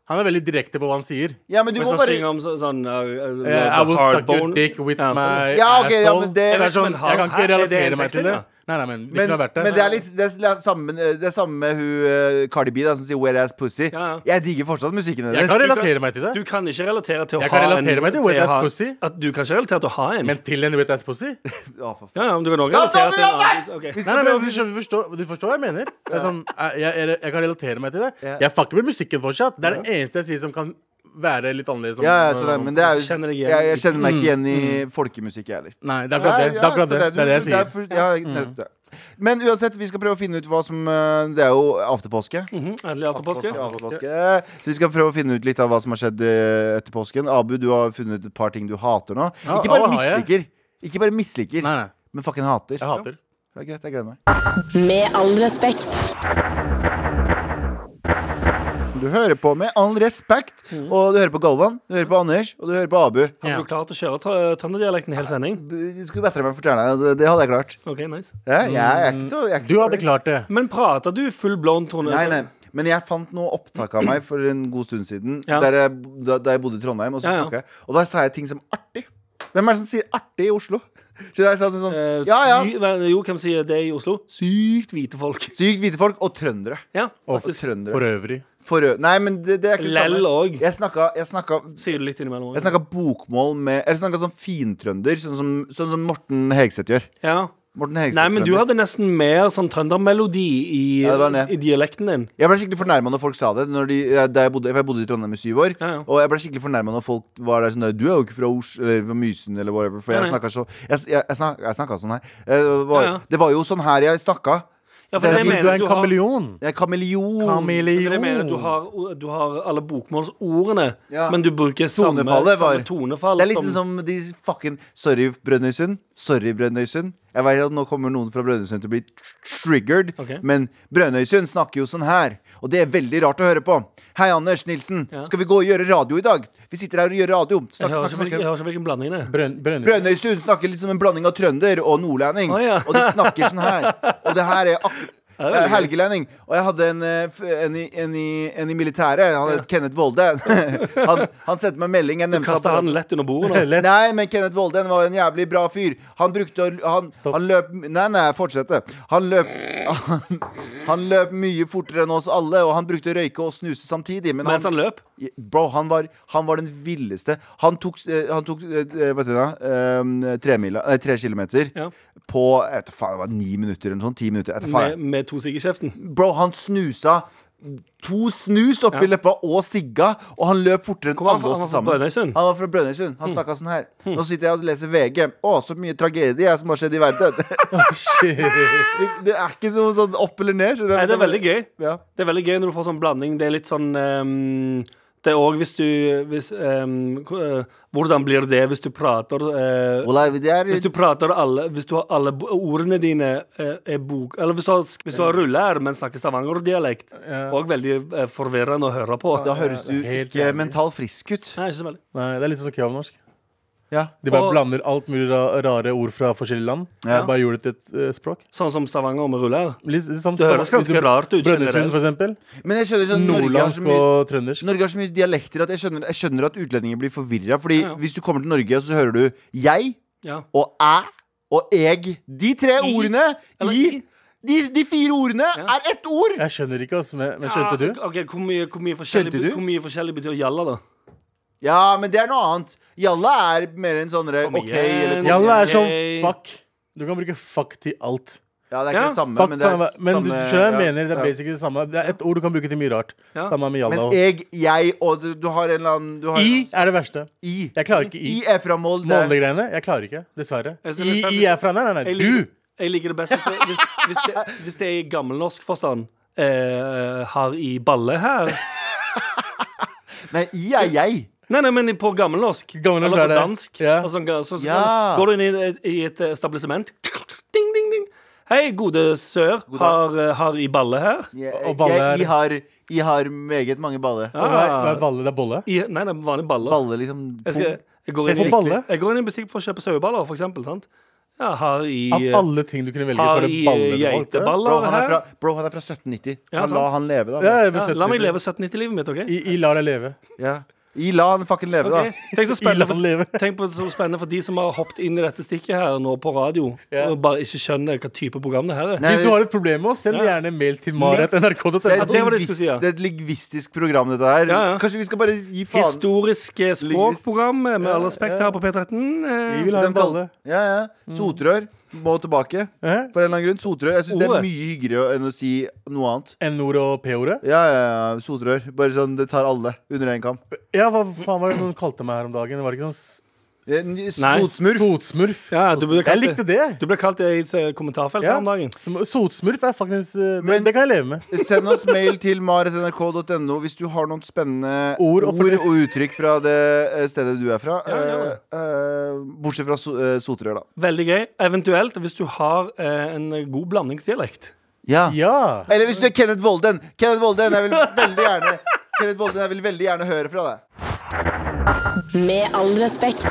Speaker 4: Han er veldig direkte på hva han sier.
Speaker 3: Ja, men du
Speaker 2: Hvis han
Speaker 3: må bare
Speaker 2: synger om så- sånn uh, uh,
Speaker 4: Eh, I will
Speaker 2: hard
Speaker 4: suck your
Speaker 2: bone.
Speaker 4: dick with
Speaker 2: Ja, sånn.
Speaker 4: my
Speaker 3: Ja, ok, ja,
Speaker 4: asshole.
Speaker 3: men det-
Speaker 4: Eller sånn,
Speaker 2: Men har-
Speaker 4: jeg kan ikke
Speaker 2: er det en
Speaker 4: relatere meg
Speaker 2: tekst,
Speaker 4: til det.
Speaker 2: eller?
Speaker 4: Nei, nei, men det
Speaker 3: men,
Speaker 4: kunne ha vært det.
Speaker 3: men det er litt Det er litt samme med, det er samme med hun eh, Cardi B da, som sier 'wet ass pussy'.
Speaker 2: Ja, ja.
Speaker 3: Jeg digger fortsatt
Speaker 4: Jeg
Speaker 3: musikken hennes.
Speaker 4: kan
Speaker 2: Du kan-
Speaker 4: relatere meg til
Speaker 2: Du
Speaker 4: det.
Speaker 2: kan ikke relatere til å
Speaker 4: Jeg
Speaker 2: ha
Speaker 4: kan relatere
Speaker 2: en
Speaker 4: meg til wet
Speaker 2: å
Speaker 4: ass
Speaker 2: ha-
Speaker 4: pussy.
Speaker 2: At du kan ikke relatere til å ha en.
Speaker 4: Men til en wet ass pussy? Nei,
Speaker 3: Å, for faen.
Speaker 2: ja, ja, men du kan også
Speaker 3: Da
Speaker 2: relatere
Speaker 3: tar vi
Speaker 2: til en
Speaker 3: den
Speaker 2: annen.
Speaker 3: der!
Speaker 2: Ok.
Speaker 3: Vi skal
Speaker 4: nei, men
Speaker 3: prøve-
Speaker 4: du skjønner- forstår, du forstår hva jeg mener. Det er sånn, jeg, jeg, jeg kan relatere meg til det.
Speaker 3: Ja.
Speaker 4: Jeg fucker med musikken fortsatt. Det er det eneste jeg sier som kan være litt annerledes. om-
Speaker 3: ja, ja, så det, men det er jo
Speaker 2: Kjenner deg igjen.
Speaker 3: jeg, jeg kjenner meg ikke igjen i
Speaker 4: Mm.
Speaker 3: folkemusikk, jeg liksom. heller.
Speaker 4: Nei, det er akkurat det. Det er akkurat det, det, er det jeg sier.
Speaker 3: du- det er for- ja, nettopp det. Men uansett, vi skal prøve å finne ut hva som eh, Det er jo after påske.
Speaker 2: Mhm, Endelig etter påske.
Speaker 3: After påske. Så vi skal prøve å finne ut litt av hva som har skjedd eh, etter påsken. Abu, du har funnet et par ting du hater nå.
Speaker 4: Ja,
Speaker 3: Ikke bare
Speaker 4: å, har jeg?
Speaker 3: misliker, ikke bare misliker
Speaker 4: Nei, nei.
Speaker 3: men fucking hater.
Speaker 4: Jeg hater.
Speaker 3: Det er greit, jeg gleder meg.
Speaker 1: Med all respekt.
Speaker 3: Du hører på med all respekt,
Speaker 4: Mm.
Speaker 3: og du hører på Galvan, du hører på Anders, og du hører på Abu.
Speaker 2: Har
Speaker 4: Ja.
Speaker 2: du klart å kjøre tra- trønderdialekten i hel sending?
Speaker 3: Du skulle bedre meg for stjerna, det, det hadde jeg klart.
Speaker 2: Ok, nice
Speaker 3: Ja, jeg, er ikke så jeg er ikke
Speaker 4: Du
Speaker 3: så
Speaker 4: hadde
Speaker 3: dårlig.
Speaker 4: klart det.
Speaker 2: Men prater du full blond tone?
Speaker 3: Nei, nei. Men jeg fant noe opptak av meg for en god stund siden.
Speaker 2: Ja.
Speaker 3: Der jeg, da, da jeg bodde i Trondheim. Og, så
Speaker 2: Ja, ja.
Speaker 3: snakket jeg, og da sa jeg ting som 'artig'. Hvem er det som sier 'artig' i Oslo? Så jeg sa sånn, sånn
Speaker 2: Eh,
Speaker 3: Ja, ja.
Speaker 2: sy- hva- Jo, hvem sier det i Oslo? Sykt hvite folk.
Speaker 3: Sykt hvite folk og trøndere.
Speaker 2: Ja,
Speaker 4: Og
Speaker 2: faktisk.
Speaker 3: trøndere.
Speaker 4: For øvrig.
Speaker 3: For ø- Nei, men det, det er ikke det
Speaker 2: Lell
Speaker 3: samme.
Speaker 2: òg,
Speaker 3: Jeg snakka, jeg snakka
Speaker 2: sier du litt innimellom.
Speaker 3: jeg
Speaker 2: også.
Speaker 3: snakka bokmål med Eller snakka sånn fintrønder, sånn som, sånn som Morten Hegseth gjør.
Speaker 2: Ja.
Speaker 3: Morten Hegseth
Speaker 2: Nei, men du
Speaker 3: trønder.
Speaker 2: hadde nesten mer sånn trøndermelodi i,
Speaker 3: Ja, det var det.
Speaker 2: i dialekten din.
Speaker 3: Jeg ble skikkelig fornærma når folk sa det. Når de, eh, da jeg, bodde, for jeg bodde i Trondheim i syv år.
Speaker 2: Ja, ja.
Speaker 3: Og jeg ble skikkelig fornærma når folk var der sånn der, 'Du er jo ikke fra Os eller fra Mysen', eller whatever. For
Speaker 2: Ja,
Speaker 3: jeg
Speaker 2: ja.
Speaker 3: snakka så Jeg, jeg, jeg, snak, jeg snakka sånn her. Eh, det var,
Speaker 2: Ja, ja.
Speaker 3: Det var jo sånn her jeg snakka.
Speaker 2: Ja, for det
Speaker 3: Det er
Speaker 2: jeg
Speaker 4: Du
Speaker 3: fordi
Speaker 4: er
Speaker 2: mener
Speaker 4: en
Speaker 2: har-
Speaker 4: kameleon.
Speaker 3: Jeg er kameleon.
Speaker 2: Det er det jeg mener, du
Speaker 4: Kameleon.
Speaker 2: har, du har alle bokmålsordene,
Speaker 3: Ja.
Speaker 2: men du bruker samme,
Speaker 3: Tonefallet var-
Speaker 2: samme tonefall.
Speaker 3: det er litt sånn som de fucking Sorry, Brønnøysund. Sorry, Brønnøysund. Jeg vet at nå kommer noen fra Brønnøysund til å bli triggered,
Speaker 2: Ok.
Speaker 3: men Brønnøysund snakker jo sånn her. Og det er veldig rart å høre på. Hei, Anders Nilsen.
Speaker 2: Ja.
Speaker 3: Skal vi gå og gjøre radio i dag? Vi sitter her og gjør radio.
Speaker 2: jeg,
Speaker 3: Snakk,
Speaker 2: hører
Speaker 3: snakk,
Speaker 2: ikke,
Speaker 3: snakk.
Speaker 2: hvilken- jeg hører ikke hvilken blanding det er.
Speaker 4: Brønn- Brønnøysund.
Speaker 3: Brønnøysund snakker litt som en blanding av trønder og nordlending.
Speaker 2: Å, ja.
Speaker 3: Og de snakker sånn her. Og det her er ak eh, helgelending. Og jeg hadde en, eh, f- en, i- en, i- en i militæret. Han het Kenneth Volde. han, han sendte meg melding. Jeg nevnte
Speaker 2: Kaster han
Speaker 3: på-
Speaker 2: lett under bordet nå?
Speaker 4: Lett.
Speaker 3: Nei, men Kenneth Volden var en jævlig bra fyr. Han brukte å Han, han løp Nei, nei, fortsette. Han løp han, han løp mye fortere enn oss alle, og han brukte å røyke og snuse samtidig. Men
Speaker 2: Mens
Speaker 3: han,
Speaker 2: han løp?
Speaker 3: Bro, han var, han var den villeste. Han tok, eh, han tok eh, hva heter det da? Eh, tre, mila, nei, tre kilometer
Speaker 2: Ja.
Speaker 3: på jeg vet, da faen, det var ni minutter eller noe sånt. Ti minutter. Jeg vet, da
Speaker 2: Med,
Speaker 3: faen.
Speaker 2: med to sigg i kjeften?
Speaker 3: Bro, han snusa to snus oppi
Speaker 2: Ja.
Speaker 3: leppa og sigga, og han løp fortere enn
Speaker 2: Kom, han,
Speaker 3: alle
Speaker 2: var- han
Speaker 3: oss
Speaker 2: var fra
Speaker 3: til sammen.
Speaker 2: Brønnøysund? Mm.
Speaker 3: Han var fra Brønnøysund. Han snakka sånn her. Nå sitter jeg og leser VG. Å, så mye tragedie som har skjedd i verden.
Speaker 4: Shit.
Speaker 3: Det, det er ikke noe sånn opp eller ned. skjønner du?
Speaker 2: Nei, det er veldig gøy.
Speaker 3: Ja.
Speaker 2: Det er veldig gøy når du får sånn blanding. Det er litt sånn ehm, Det er òg hvis du hvis, ehm, k- eh, Hvordan blir det hvis du prater eh,
Speaker 3: Olai, det er
Speaker 2: Hvis du prater alle Hvis du har alle bo- ordene dine eh, er bok... Eller hvis du har, hvis du har ruller, men snakker stavangerdialekt. Òg veldig eh, forvirrende å høre på.
Speaker 3: Da høres du
Speaker 4: det er helt
Speaker 3: ikke
Speaker 4: jævlig.
Speaker 3: mental frisk ut.
Speaker 2: Nei, ikke så veldig.
Speaker 4: Nei, det er litt sånn kjøvnorsk.
Speaker 3: Ja.
Speaker 4: De bare
Speaker 2: Og-
Speaker 4: blander alt mulig ra rare ord fra forskjellige land.
Speaker 3: Ja.
Speaker 4: Bare gjorde det til et eh, språk.
Speaker 2: Sånn som Stavanger med ruller.
Speaker 4: Litt, litt sånn-
Speaker 2: Det høres ganske
Speaker 4: Hvis du-
Speaker 2: rart ut,
Speaker 4: Brønnøysund,
Speaker 2: generelt.
Speaker 4: for eksempel.
Speaker 3: Men jeg skjønner sånn, Norge har så
Speaker 4: Nordlandsk
Speaker 3: mye
Speaker 4: og trøndersk.
Speaker 3: Norge har så mye dialekter at jeg skjønner, jeg skjønner at utlendinger blir forvirra. Fordi
Speaker 2: Ja, ja.
Speaker 3: hvis du kommer til Norge, så hører du jeg
Speaker 2: Ja.
Speaker 3: og æ og eg. De tre ordene
Speaker 2: Eller
Speaker 3: i
Speaker 2: i.
Speaker 3: De, de fire ordene er ett ord!
Speaker 4: Jeg skjønner ikke, altså, men, men skjønte du?
Speaker 2: Ja, Ah, ok, Hvor mye, hvor mye, forskjellig,
Speaker 3: Skjønte du?
Speaker 2: hvor mye forskjellig betyr jalla, da?
Speaker 3: Ja, men det er noe annet. Jalla er mer en sånn
Speaker 2: Kom
Speaker 3: OK
Speaker 2: igjen.
Speaker 3: eller
Speaker 4: Jalla er som
Speaker 2: Yay.
Speaker 4: fuck. Du kan bruke fuck til alt.
Speaker 3: Ja, det er ikke
Speaker 2: Ja,
Speaker 3: det samme,
Speaker 4: Fuck,
Speaker 3: men det er
Speaker 4: faen, men du
Speaker 3: samme
Speaker 4: skjønner hva jeg
Speaker 3: ja,
Speaker 4: mener. Det er
Speaker 3: ja.
Speaker 4: basically det samme. Det er et ord du kan bruke til mye rart.
Speaker 2: Ja.
Speaker 4: Samme med jalla
Speaker 3: Men
Speaker 4: og
Speaker 3: jeg, jeg og du, du har en eller annen du har
Speaker 4: I er det verste.
Speaker 3: I.
Speaker 4: Jeg klarer ikke
Speaker 3: I
Speaker 4: i.
Speaker 3: er fra Molde.
Speaker 4: Molde-greiene. Jeg klarer ikke, dessverre.
Speaker 2: Jeg
Speaker 4: I,
Speaker 2: synes det er
Speaker 4: I er fra Nei, nei, nei.
Speaker 2: Jeg liker,
Speaker 4: Du!
Speaker 2: jeg liker det best hvis det, hvis, hvis det, hvis det er i gammelnorsk forstand. Eh, har i balle her.
Speaker 3: Nei, I er jeg.
Speaker 2: Nei, nei, men på gammelnorsk.
Speaker 4: Gammelnorsk
Speaker 2: Eller
Speaker 4: er
Speaker 2: på
Speaker 4: det.
Speaker 2: dansk.
Speaker 4: Ja.
Speaker 2: Og sånn, så, så,
Speaker 3: Ja.
Speaker 2: Går du inn i, i et establishment ding, ding, ding. Hei, gode sør.
Speaker 3: God dag.
Speaker 2: Har, eh, har i balle her?
Speaker 3: Jeg,
Speaker 4: Og balle
Speaker 3: jeg,
Speaker 4: er-
Speaker 3: I, har, I har meget mange baller.
Speaker 4: Og Hva er
Speaker 2: Ah.
Speaker 4: hva er balle? Det er bolle?
Speaker 2: I, nei, det er vanlige baller.
Speaker 3: Baller, liksom.
Speaker 2: Jeg, skal, jeg, går inn
Speaker 4: På
Speaker 2: i,
Speaker 4: balle?
Speaker 2: jeg går inn i en butikk for å kjøpe saueballer, for eksempel. Sant? Ja, har i
Speaker 4: Av
Speaker 2: eh,
Speaker 4: alle ting du kunne velge, så
Speaker 2: Har
Speaker 4: var
Speaker 2: i
Speaker 4: det balle.
Speaker 2: eh,
Speaker 4: du valgte.
Speaker 3: Bro,
Speaker 2: geiteballer
Speaker 3: han er
Speaker 2: her.
Speaker 3: fra, bro, han er fra 1790.
Speaker 2: Ja,
Speaker 3: han la
Speaker 2: sant.
Speaker 3: han leve,
Speaker 4: Ja,
Speaker 3: da.
Speaker 4: jeg
Speaker 2: Ja,
Speaker 4: besøkte
Speaker 2: la meg
Speaker 4: det.
Speaker 2: leve 1790-livet mitt, OK?
Speaker 4: I, I lar deg leve.
Speaker 3: Ja. I la han fucking leve,
Speaker 2: Ok, Tenk, så
Speaker 4: I
Speaker 2: spennende
Speaker 4: la han leve.
Speaker 2: for, tenk på det så spennende for de som har hoppet inn i dette stikket her nå på radio,
Speaker 4: Ja.
Speaker 2: og bare ikke skjønner hva type program det her er.
Speaker 3: Nei,
Speaker 4: Hvis du har et problem med oss, send
Speaker 2: Ja.
Speaker 4: gjerne mail til maret.nrk.no.
Speaker 3: da.
Speaker 2: Ja, det var det jeg skulle si, ja.
Speaker 3: det er et lingvistisk program, dette her.
Speaker 2: Ja, ja.
Speaker 3: Kanskje vi skal bare gi faen.
Speaker 2: Historisk eh, språkprogram eh, med all respekt
Speaker 4: ja.
Speaker 2: her på P13.
Speaker 4: Vi
Speaker 2: eh,
Speaker 4: vil ha
Speaker 3: De
Speaker 4: en
Speaker 3: kall-
Speaker 4: balle.
Speaker 3: Ja, ja.
Speaker 2: Mm.
Speaker 3: Sotrør må tilbake.
Speaker 4: Hæ?
Speaker 3: For en eller annen grunn. Sotrør. Jeg syns det
Speaker 2: Ordet.
Speaker 3: er mye hyggeligere enn å si noe annet.
Speaker 4: N-ord og P-ordet?
Speaker 3: Ja, ja, ja. Sotrør. Bare sånn, det tar alle under én kam.
Speaker 4: Ja, hva faen var det noen kalte meg her om dagen? Var det ikke sånn s-
Speaker 3: Eh, n-
Speaker 2: Nei.
Speaker 3: Sotsmurf.
Speaker 4: Sotsmurf.
Speaker 2: Ja, du burde
Speaker 4: jeg
Speaker 2: kalt
Speaker 4: likte det.
Speaker 2: Du ble kalt det i et eh, kommentarfelt
Speaker 4: Ja.
Speaker 2: her om dagen.
Speaker 4: Som- Sotsmurf er faktisk eh, det,
Speaker 3: Men-
Speaker 4: det kan jeg leve med.
Speaker 3: Send oss mail til maret.nrk.no hvis du har noen spennende
Speaker 4: Ord og-
Speaker 3: og, uttrykk fra det eh, stedet du er fra.
Speaker 2: Ja, ja.
Speaker 3: Eh, eh, bortsett fra so eh, sotrør, da.
Speaker 2: Veldig gøy. Eventuelt hvis du har eh, en god blandingsdialekt.
Speaker 3: Ja.
Speaker 4: Ja.
Speaker 3: Eller hvis du er Kenneth Volden. Kenneth Volden, jeg vil veldig gjerne Kenneth Volden, jeg vil veldig gjerne høre fra deg.
Speaker 1: Med all respekt.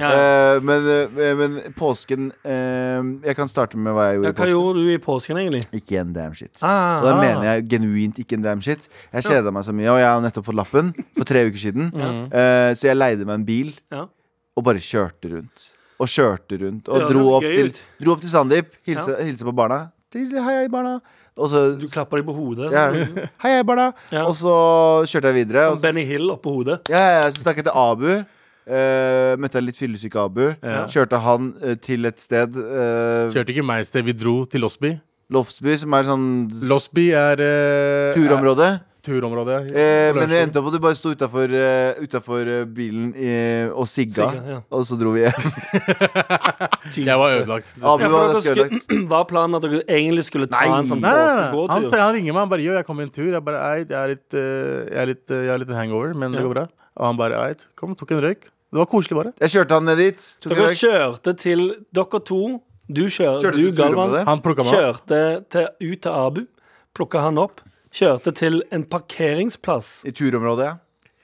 Speaker 2: Ja.
Speaker 3: Eh, men, eh, men påsken eh, Jeg kan starte med hva jeg
Speaker 2: Ja,
Speaker 3: gjorde i
Speaker 2: hva
Speaker 3: påsken.
Speaker 2: gjorde du i påsken, egentlig?
Speaker 3: Ikke en damn shit.
Speaker 2: Ah.
Speaker 3: og da mener jeg genuint ikke en damn shit. Jeg kjeda meg så mye, og jeg har nettopp fått lappen for tre uker siden. Eh, så jeg leide meg en bil
Speaker 2: Ja.
Speaker 3: og bare kjørte rundt. Og kjørte rundt. Og
Speaker 2: Det
Speaker 3: dro,
Speaker 2: høres
Speaker 3: opp
Speaker 2: gøy
Speaker 3: til,
Speaker 2: ut.
Speaker 3: dro opp til Sandeep, hilse, hilse på barna. Til, hei, hei, barna. Og så
Speaker 2: Du klappa deg på hodet.
Speaker 3: ja,
Speaker 2: sånn.
Speaker 3: Hei, hei, barna.
Speaker 2: Ja.
Speaker 3: Og så kjørte jeg videre. Og,
Speaker 2: Benny Hill oppå hodet.
Speaker 3: ja, ja, så stakk jeg til Abu. Eh, møtte en litt fyllesyk Abu.
Speaker 4: Ja.
Speaker 3: Kjørte han eh, til et sted, eh,
Speaker 4: Kjørte ikke meg et sted. Vi dro til Losby.
Speaker 3: Lofsby, som er sånn
Speaker 4: Losby er eh,
Speaker 3: turområde.
Speaker 4: er- Turområdet.
Speaker 3: Eh, men det endte opp med at du bare sto utafor bilen eh, og sigga,
Speaker 2: Sigga, ja.
Speaker 3: og så dro vi hjem.
Speaker 4: Jeg var ødelagt.
Speaker 3: Abu
Speaker 2: Ja, for
Speaker 3: var
Speaker 2: dere
Speaker 3: ganske ødelagt.
Speaker 2: skulle, var planen at dere egentlig skulle ta
Speaker 3: Nei.
Speaker 2: en sånn
Speaker 4: Nei, nei, nei. nei. Han,
Speaker 2: påskegåtur?
Speaker 4: sier- han ringer meg. Han bare 'Yo, jeg kom i en tur'. Jeg bare 'Eit, jeg er litt, eh, jeg er litt, eh, jeg har litt hangover, men det
Speaker 2: Ja.
Speaker 4: går bra'. Og han bare 'Eit, kom, tok en røyk'. Det var koselig, bare.
Speaker 3: Jeg kjørte han ned dit. Tok en
Speaker 2: Dere
Speaker 3: røyk.
Speaker 2: kjørte til Dere to, du kjører,
Speaker 3: Kjørte
Speaker 2: du
Speaker 3: til
Speaker 2: Galvan,
Speaker 3: turområdet.
Speaker 4: Han plukka meg opp.
Speaker 2: kjørte til, ut til Abu, plukka han opp, kjørte til en parkeringsplass
Speaker 3: I turområdet, ja.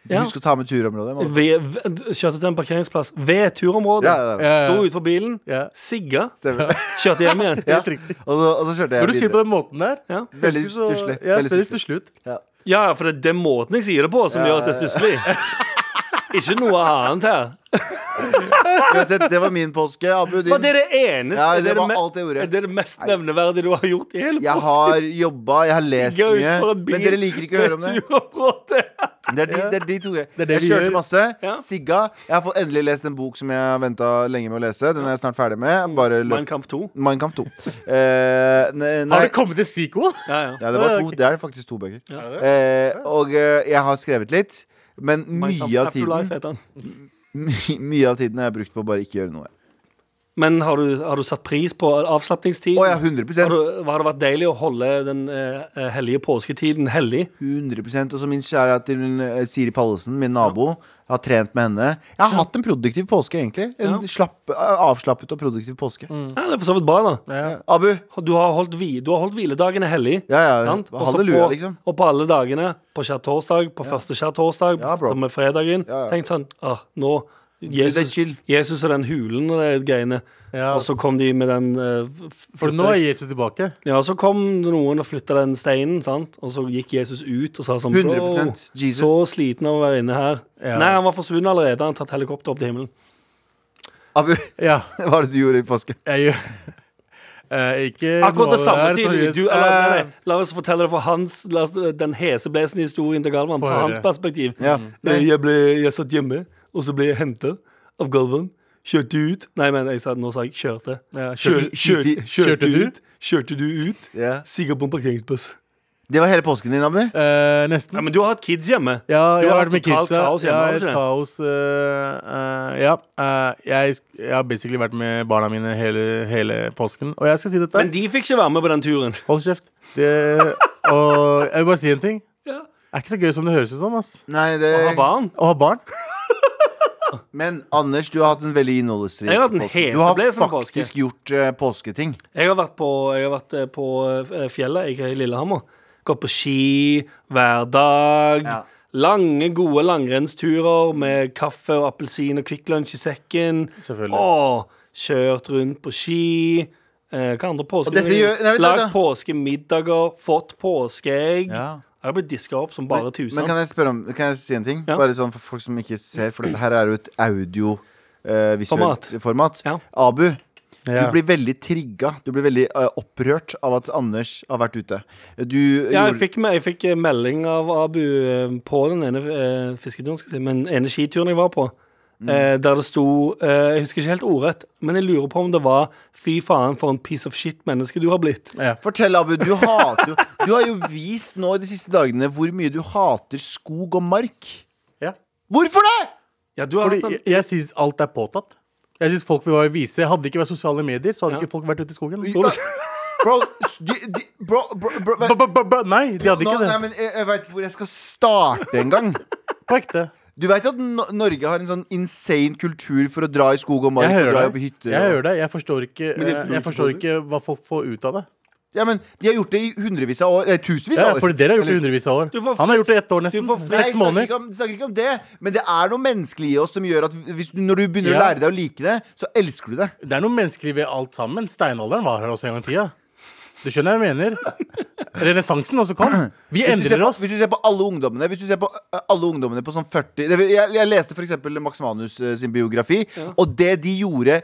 Speaker 3: Du
Speaker 2: Ja.
Speaker 3: Husk å ta med turområdet. mann.
Speaker 2: ved, ved, Kjørte til en parkeringsplass ved turområdet.
Speaker 3: Ja, ja, ja.
Speaker 4: Ja,
Speaker 2: Sto
Speaker 4: ja,
Speaker 2: utfor bilen,
Speaker 4: ja.
Speaker 2: sigga,
Speaker 3: Stemmer.
Speaker 2: kjørte hjem igjen.
Speaker 3: Ja.
Speaker 4: Helt riktig.
Speaker 3: Og, så, og så kjørte
Speaker 4: Når du
Speaker 3: jeg
Speaker 4: sier det på
Speaker 3: videre.
Speaker 4: den måten der
Speaker 2: Ja,
Speaker 3: Veldig
Speaker 4: så-
Speaker 3: stusslig.
Speaker 4: Ja,
Speaker 3: Veldig
Speaker 4: veldig stusslig.
Speaker 3: stusslig. Ja.
Speaker 2: ja ja, for det er den måten jeg sier det på, som gjør at det er stusslig. Ikke noe annet her.
Speaker 3: Uansett, det var min påske. Abu,
Speaker 2: Og det
Speaker 3: din.
Speaker 2: er det eneste
Speaker 3: Ja, det
Speaker 2: er
Speaker 3: var
Speaker 2: me-
Speaker 3: alt jeg gjorde.
Speaker 2: Det er det mest nevneverdige du har gjort i hele
Speaker 3: Jeg har jobba, jeg har lest
Speaker 2: Sigga
Speaker 3: mye.
Speaker 2: utfor en bil
Speaker 3: Men dere liker ikke å høre om det.
Speaker 2: ved turområdet.
Speaker 3: Det er de, det er de to.
Speaker 4: er det
Speaker 3: Jeg
Speaker 4: vi
Speaker 3: kjørte
Speaker 4: gjør.
Speaker 3: masse.
Speaker 2: Ja.
Speaker 3: Sigga. Jeg har fått endelig lest en bok som jeg har venta lenge med å lese. Den er jeg snart ferdig
Speaker 4: Mm.
Speaker 3: med. Bare
Speaker 2: Mein
Speaker 3: løp.
Speaker 2: Kampf 2.
Speaker 3: Mein Kampf 2. Eh, ne-
Speaker 4: Har
Speaker 3: nei.
Speaker 4: det kommet en sequel?
Speaker 2: Ja, ja.
Speaker 3: Ja, det, var to, det er faktisk to bøker.
Speaker 2: Ja.
Speaker 3: Eh, og eh, jeg har skrevet litt. Men
Speaker 2: Mein Kampf
Speaker 3: mye av,
Speaker 2: Afterlife
Speaker 3: tiden,
Speaker 2: heter han.
Speaker 3: my, mye av tiden har jeg brukt på å bare ikke gjøre noe.
Speaker 2: Men har du, har du satt pris på avslappningstiden?
Speaker 3: Å ja, 100
Speaker 2: har, du, har det vært deilig å holde den eh, hellige påsketiden hellig?
Speaker 3: 100% Og så min kjære til min, eh, Siri Pallesen, min nabo, har trent med henne. Jeg har hatt en produktiv påske, egentlig.
Speaker 2: Ja.
Speaker 3: En
Speaker 2: Mm.
Speaker 3: slapp, eh, avslappet og produktiv påske.
Speaker 2: Ja, det er for så vidt bra, da.
Speaker 4: Ja.
Speaker 3: Abu.
Speaker 2: Du har holdt, hvi, du har holdt hviledagene hellig.
Speaker 3: Ja, ja.
Speaker 2: sant? Og så
Speaker 3: Halleluja,
Speaker 2: på,
Speaker 3: liksom.
Speaker 2: Og på alle dagene, på skjærtorsdag, på første skjærtorsdag,
Speaker 3: Ja, bro.
Speaker 2: som er fredagen,
Speaker 3: Ja, ja.
Speaker 2: tenkt sånn ah, Nå
Speaker 3: Det er
Speaker 2: Jesus,
Speaker 3: chill.
Speaker 2: Jesus og den hulen og de greiene.
Speaker 4: Ja.
Speaker 2: Og så kom de med den eh, f-
Speaker 4: For nå er Jesus tilbake.
Speaker 2: Ja, så kom noen og flytta den steinen, sant? og så gikk Jesus ut og sa sånn
Speaker 3: 100%
Speaker 2: «Bro,
Speaker 3: Jesus.
Speaker 2: Så sliten av å være inne her.
Speaker 4: Ja.
Speaker 2: Nei, han var forsvunnet allerede. Han har tatt helikopter opp til himmelen.
Speaker 3: Abu,
Speaker 4: Ja,
Speaker 3: hva er det du gjorde i påsken?
Speaker 4: jeg gjør Eh, ikke
Speaker 2: Akkurat det samme
Speaker 4: tydeligvis.
Speaker 2: tydeligvis. Du, eller, nei,
Speaker 4: Eh,
Speaker 2: nei. La oss fortelle det fra hans la oss, eh, den heseblesende historien til Galvan.
Speaker 4: Få
Speaker 2: Fra
Speaker 4: høre.
Speaker 2: hans perspektiv.
Speaker 3: Ja.
Speaker 2: Eh, Jeg, ble, jeg satt hjemme, og så ble jeg henta av Galvan. Kjørte ut Nei, men jeg sa, nå sa jeg kjørte.
Speaker 4: Eh, ja,
Speaker 2: Kjør,
Speaker 3: Kjør-
Speaker 2: kjør,
Speaker 3: kjør-
Speaker 2: kjørte,
Speaker 4: kjørte
Speaker 2: du
Speaker 4: du?
Speaker 2: ut? Kjørte du ut?
Speaker 3: Ja.
Speaker 2: Sikkert på en parkeringsplass.
Speaker 3: Det var hele påsken din, Abu?
Speaker 4: Eh, nesten.
Speaker 2: Ja, men du har hatt kids hjemme.
Speaker 4: Ja, jeg har
Speaker 2: har
Speaker 4: vært med
Speaker 2: totalt
Speaker 4: kidsa.
Speaker 2: kaos hjemme,
Speaker 4: ja,
Speaker 2: har du
Speaker 4: et
Speaker 2: ikke det?
Speaker 4: kaos eh, eh, Ja. eh, jeg, sk- jeg har basically vært med barna mine hele, hele påsken. Og jeg skal si dette.
Speaker 2: Men de fikk ikke være med på den turen.
Speaker 4: Hold kjeft. Det, og jeg vil bare si en ting.
Speaker 2: Ja.
Speaker 4: Det er ikke så gøy som det høres ut som. ass
Speaker 3: Nei, det
Speaker 2: Har barn.
Speaker 4: Å ha barn.
Speaker 3: Men Anders, du har hatt en veldig innholdsrik
Speaker 2: Jeg har hatt en
Speaker 3: påske. Du har
Speaker 2: heseblesende påske.
Speaker 3: faktisk gjort eh, påsketing.
Speaker 2: Jeg har vært på, jeg har vært eh, på eh, fjellet, ikke i Lillehammer. Gått på ski hver dag.
Speaker 3: Ja.
Speaker 2: Lange, gode langrennsturer med kaffe og appelsin og Kvikk Lunsj i sekken.
Speaker 4: Selvfølgelig.
Speaker 2: Åh, kjørt rundt på ski. Eh, hva andre påske?
Speaker 3: dette gjør- Nei, vent,
Speaker 2: Lagd
Speaker 3: vent, vent.
Speaker 2: påskemiddager, fått påskeegg.
Speaker 3: Ja.
Speaker 2: Jeg har blitt diska opp som bare tusen.
Speaker 3: Men kan jeg spørre om Kan jeg si en ting?
Speaker 2: Ja.
Speaker 3: Bare sånn for folk som ikke ser, for dette her er jo et audio eh, visuelt format.
Speaker 2: Ja.
Speaker 3: Abu,
Speaker 4: Ja.
Speaker 3: du blir veldig trigga. Du blir veldig eh, opprørt av at Anders har vært ute. Du
Speaker 2: Ja, jeg
Speaker 3: gjorde-
Speaker 2: fikk, me- jeg fikk eh, melding av Abu eh, på den ene eh, fisketuren, skal jeg si, men den ene skituren jeg var på. Eh, der det sto eh, Jeg husker ikke helt ordrett, men jeg lurer på om det var 'fy faen, for en piece of shit-menneske du har blitt'.
Speaker 3: Fortell, Abu. Du hater jo Du har jo vist nå i de siste dagene hvor mye du hater skog og mark.
Speaker 4: Ja.
Speaker 3: Hvorfor det?!
Speaker 2: Ja, du har
Speaker 4: Fordi
Speaker 2: hatt en,
Speaker 4: jeg, jeg syns alt er påtatt. Jeg synes folk vil bare vise Hadde det ikke vært sosiale medier, så hadde
Speaker 2: Ja.
Speaker 4: ikke folk vært ute i skogen.
Speaker 3: Bro, s- de, de, bro, bro, bro
Speaker 4: Ba, ba, ba, ba. Nei, de hadde
Speaker 3: nå,
Speaker 4: ikke
Speaker 3: nei,
Speaker 4: det.
Speaker 3: men jeg, jeg veit hvor jeg skal starte en gang.
Speaker 4: På ekte.
Speaker 3: Du veit at no Norge har en sånn insane kultur for å dra i skog og mark
Speaker 4: Jeg
Speaker 3: og dra
Speaker 4: hører
Speaker 3: på
Speaker 4: deg.
Speaker 3: hytter.
Speaker 4: Jeg
Speaker 3: og-
Speaker 4: hører deg. Jeg forstår ikke,
Speaker 2: Men jeg
Speaker 4: eh,
Speaker 2: tror
Speaker 4: jeg
Speaker 2: ikke
Speaker 4: forstår
Speaker 2: på det.
Speaker 4: ikke hva folk får ut av det.
Speaker 3: Ja, men De har gjort det i hundrevis av år. Eller tusenvis
Speaker 4: Ja,
Speaker 3: av år.
Speaker 4: for dere har gjort det i
Speaker 3: Eller-
Speaker 4: hundrevis av år.
Speaker 2: Du får
Speaker 4: Han har gjort det i ett år
Speaker 2: du
Speaker 4: nesten.
Speaker 2: får
Speaker 3: Nei, jeg
Speaker 4: Seks
Speaker 3: snakker
Speaker 4: måneder.
Speaker 3: ikke, om, snakker ikke om det, men det er noe menneskelig i oss som gjør at hvis du, når du begynner å
Speaker 4: Ja.
Speaker 3: lære deg å like det, så elsker du det.
Speaker 4: Det er noe menneskelig ved alt sammen. Steinalderen var her også en gang i tida. Du skjønner hva jeg mener? Renessansen også kom. Vi
Speaker 3: Hvis du, ser
Speaker 4: endrer
Speaker 3: på,
Speaker 4: oss.
Speaker 3: hvis du ser på alle ungdommene Hvis du ser på eh, alle ungdommene på sånn 40 det- Jeg, jeg leste for eksempel Max Manus eh, sin biografi Og det de gjorde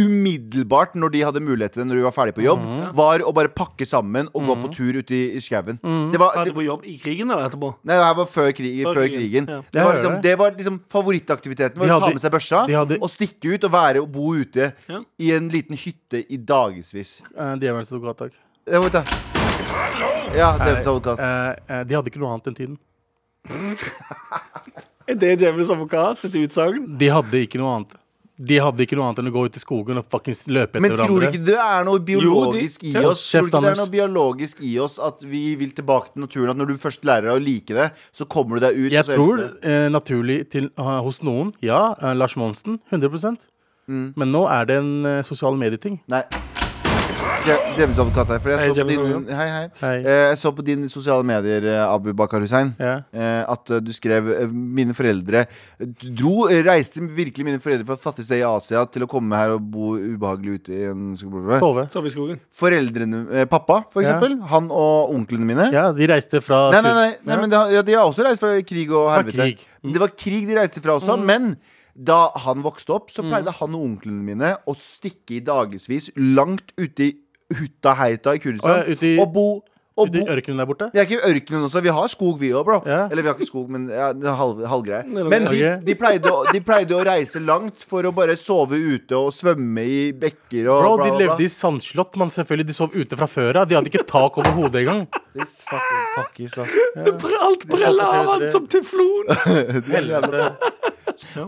Speaker 3: umiddelbart når de hadde mulighet til det Når de var ferdig på jobb
Speaker 4: Mhm.
Speaker 3: Var å bare pakke sammen og gå på tur ute i, i skaven
Speaker 4: Mhm.
Speaker 3: Det var
Speaker 2: hadde
Speaker 3: det,
Speaker 2: på jobb i krigen eller etterpå.
Speaker 3: Nei, det her var før, krig, før,
Speaker 2: Før krigen,
Speaker 3: krigen
Speaker 2: ja.
Speaker 3: det, var
Speaker 4: Jeg hører
Speaker 3: liksom,
Speaker 4: det.
Speaker 3: det var liksom favorittaktiviteten Var
Speaker 4: De
Speaker 3: å ta
Speaker 4: hadde-
Speaker 3: med seg børsa
Speaker 4: de hadde-
Speaker 3: Og stikke ut og være og bo ute
Speaker 2: Ja.
Speaker 3: I en liten hytte i dagesvis
Speaker 4: Eh, Djevelens advokat, takk.
Speaker 3: Ja, vent da Ja, Døvens advokat
Speaker 4: Eh, eh, de hadde ikke noe annet enn tiden.
Speaker 2: Er det Djevelens advokat sitt utsagn?
Speaker 4: De hadde ikke noe annet. De hadde ikke noe annet enn å gå ut i skogen og fuckings løpe etter
Speaker 3: Men tror du
Speaker 4: hverandre.
Speaker 3: ikke det er noe biologisk
Speaker 2: Jo,
Speaker 3: i
Speaker 2: de-
Speaker 3: oss? Tror du
Speaker 4: Kjeft,
Speaker 3: ikke det er
Speaker 4: Anders.
Speaker 3: noe biologisk i oss At vi vil tilbake til naturen? At når du først lærer deg å like det, så kommer du deg ut?
Speaker 4: Jeg
Speaker 3: og så
Speaker 4: tror
Speaker 3: elsker du det.
Speaker 4: eh, naturlig til, eh, hos noen, ja. eh, Lars Monsen, 100
Speaker 3: Mm.
Speaker 4: Men nå er det en eh, sosiale medieting.
Speaker 3: Nei. Jeg- Djevelens advokat her. For jeg
Speaker 2: Hei,
Speaker 3: så på
Speaker 2: Djevelens
Speaker 3: din,
Speaker 2: advokat.
Speaker 3: hei, hei.
Speaker 4: Hei.
Speaker 3: Eh, Jeg så på dine sosiale medier, eh, Abu Bakar Hussein.
Speaker 4: Ja.
Speaker 3: eh, At eh, du skrev eh, 'Mine foreldre dro eh, Reiste virkelig mine foreldre fra et fattig sted i Asia til å komme her og bo ubehagelig ute i en skole.
Speaker 4: Sove.
Speaker 2: Så har vi skogen.
Speaker 3: Foreldrene eh, Pappa, for
Speaker 4: Ja.
Speaker 3: eksempel. Han og onklene mine.
Speaker 4: Ja, de reiste fra
Speaker 3: Nei, nei, nei, nei
Speaker 4: Ja.
Speaker 3: men de har, ja, de har også reist fra krig og
Speaker 4: Fra
Speaker 3: helvete.
Speaker 4: krig. Mm.
Speaker 3: Det var krig de reiste fra også, men da han vokste opp,
Speaker 4: Mm.
Speaker 3: så pleide han og onklene mine å stikke i dagevis langt ute i hutta heita i Kurdistan
Speaker 4: Å, ja, ute i-
Speaker 3: sånn. og bo, og
Speaker 4: Ute i
Speaker 3: bo.
Speaker 4: ørkenen der borte.
Speaker 3: Det er ikke ørkenen også. Vi har skog, vi òg, bro.
Speaker 4: Ja.
Speaker 3: Eller vi har ikke skog, men ja, det er halv, halvgreie.
Speaker 2: Mellom-
Speaker 3: Men de,
Speaker 4: Ok.
Speaker 3: de, pleide å, de pleide å reise langt for å bare sove ute og svømme i bekker og
Speaker 4: Bro, de levde i sandslott, men selvfølgelig de sov ute fra før av. De hadde ikke tak over hodet engang.
Speaker 3: This fucking pakkis, ass.
Speaker 2: Alt breller av han som teflon!
Speaker 4: Helvete.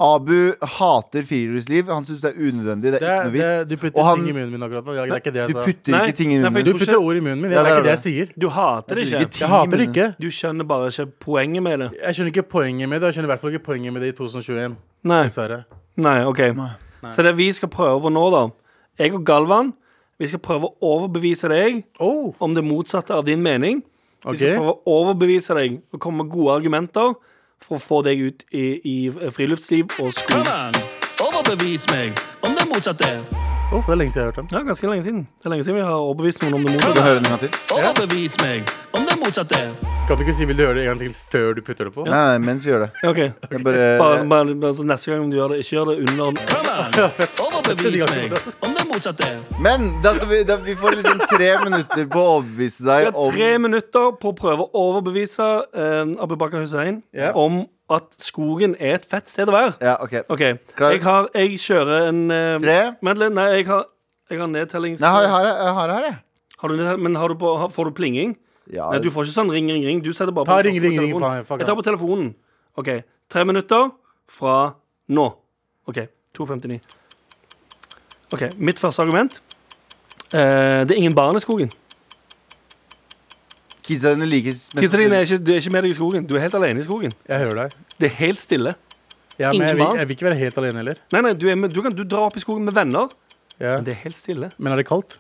Speaker 3: Abu hater friluftsliv. Han syns det er unødvendig. Det er
Speaker 4: Det, er-
Speaker 3: ikke noe
Speaker 4: det,
Speaker 3: vits.
Speaker 4: er- du putter
Speaker 3: og han,
Speaker 4: ting i munnen altså. min akkurat nå. Ja, Det er ikke det jeg
Speaker 3: du
Speaker 4: sa.
Speaker 3: putter
Speaker 2: Nei,
Speaker 3: ikke ting i
Speaker 2: nei, for
Speaker 3: munnen.
Speaker 4: Du
Speaker 3: min.
Speaker 4: putter ord i munnen min. Det
Speaker 3: Ja,
Speaker 4: er
Speaker 3: det er
Speaker 4: ikke det jeg sier.
Speaker 2: Du hater det
Speaker 3: Du
Speaker 2: ikke.
Speaker 3: putter
Speaker 4: Jeg
Speaker 3: ting i
Speaker 4: hater det
Speaker 3: munnen.
Speaker 4: ikke.
Speaker 2: Du skjønner bare ikke poenget med det.
Speaker 4: Jeg skjønner ikke poenget med det. og Jeg skjønner i hvert fall ikke poenget med det i 2021.
Speaker 2: Nei.
Speaker 4: Dessverre.
Speaker 2: Nei, ok Så det vi skal prøve på nå da Jeg og Galvan Vi skal prøve å overbevise deg
Speaker 4: Oh,
Speaker 2: Om det motsatte av din mening Vi
Speaker 4: ok.
Speaker 2: skal prøve å overbevise deg Og komme med gode argumenter For å få deg ut i, i friluftsliv og skog
Speaker 5: Kom an, overbevis meg om det motsatte.
Speaker 4: Oh, det er lenge siden jeg har hørt den.
Speaker 2: Ja, ganske lenge siden Det er lenge siden vi har overbevist noen om det
Speaker 3: Skal
Speaker 2: motsatte
Speaker 3: du høre den en gang til?
Speaker 5: Overbevis meg om det det motsatte.
Speaker 4: Kan du ikke si 'vil du gjøre det' en gang til før du putter det på?
Speaker 3: Nei, nei, mens vi gjør det.
Speaker 2: Ok.
Speaker 3: Jeg bare,
Speaker 2: Bare, bare, bare, så neste gang om du gjør det, ikke gjør det under
Speaker 5: Come on, overbevis meg om det motsatte.
Speaker 3: men da skal vi, da, vi får liksom tre minutter på å overbevise
Speaker 2: Vi
Speaker 3: deg
Speaker 2: har tre
Speaker 3: om
Speaker 2: minutter på å prøve å overbevise eh, Abu Bakar Hussein
Speaker 4: Ja.
Speaker 2: om at skogen er et fett sted å være.
Speaker 3: Ja, OK.
Speaker 2: OK.
Speaker 3: Klar.
Speaker 2: Jeg har Jeg kjører en eh,
Speaker 3: Tre.
Speaker 2: Vent litt. Nei, jeg har, jeg har nedtellings...
Speaker 3: Nei, jeg har det her, her, her, jeg.
Speaker 2: Har du nedtell- men har du på, har, får du plinging?
Speaker 3: Ja,
Speaker 2: Nei, du får ikke sånn ring, ring, ring. Du setter bare
Speaker 4: Ta
Speaker 2: på-
Speaker 4: ring,
Speaker 2: på
Speaker 4: ring, ring,
Speaker 2: telefonen.
Speaker 4: faen, fuck
Speaker 2: Jeg tar på telefonen. OK. Tre minutter fra nå. OK. 2.59. OK. Mitt første argument. Eh, det er ingen barn i skogen.
Speaker 3: Kidsa dine likes mest
Speaker 2: Kidsa dine er ikke, du er ikke med deg i skogen. Du er helt alene i skogen.
Speaker 4: Jeg hører deg.
Speaker 2: Det er helt stille.
Speaker 4: Ja, men jeg vil,
Speaker 2: Ingvar?
Speaker 4: jeg vil ikke være helt alene heller.
Speaker 2: Nei, nei, du, er med, du kan du drar opp i skogen med venner,
Speaker 4: Ja.
Speaker 2: men det er helt stille.
Speaker 4: Men er det kaldt?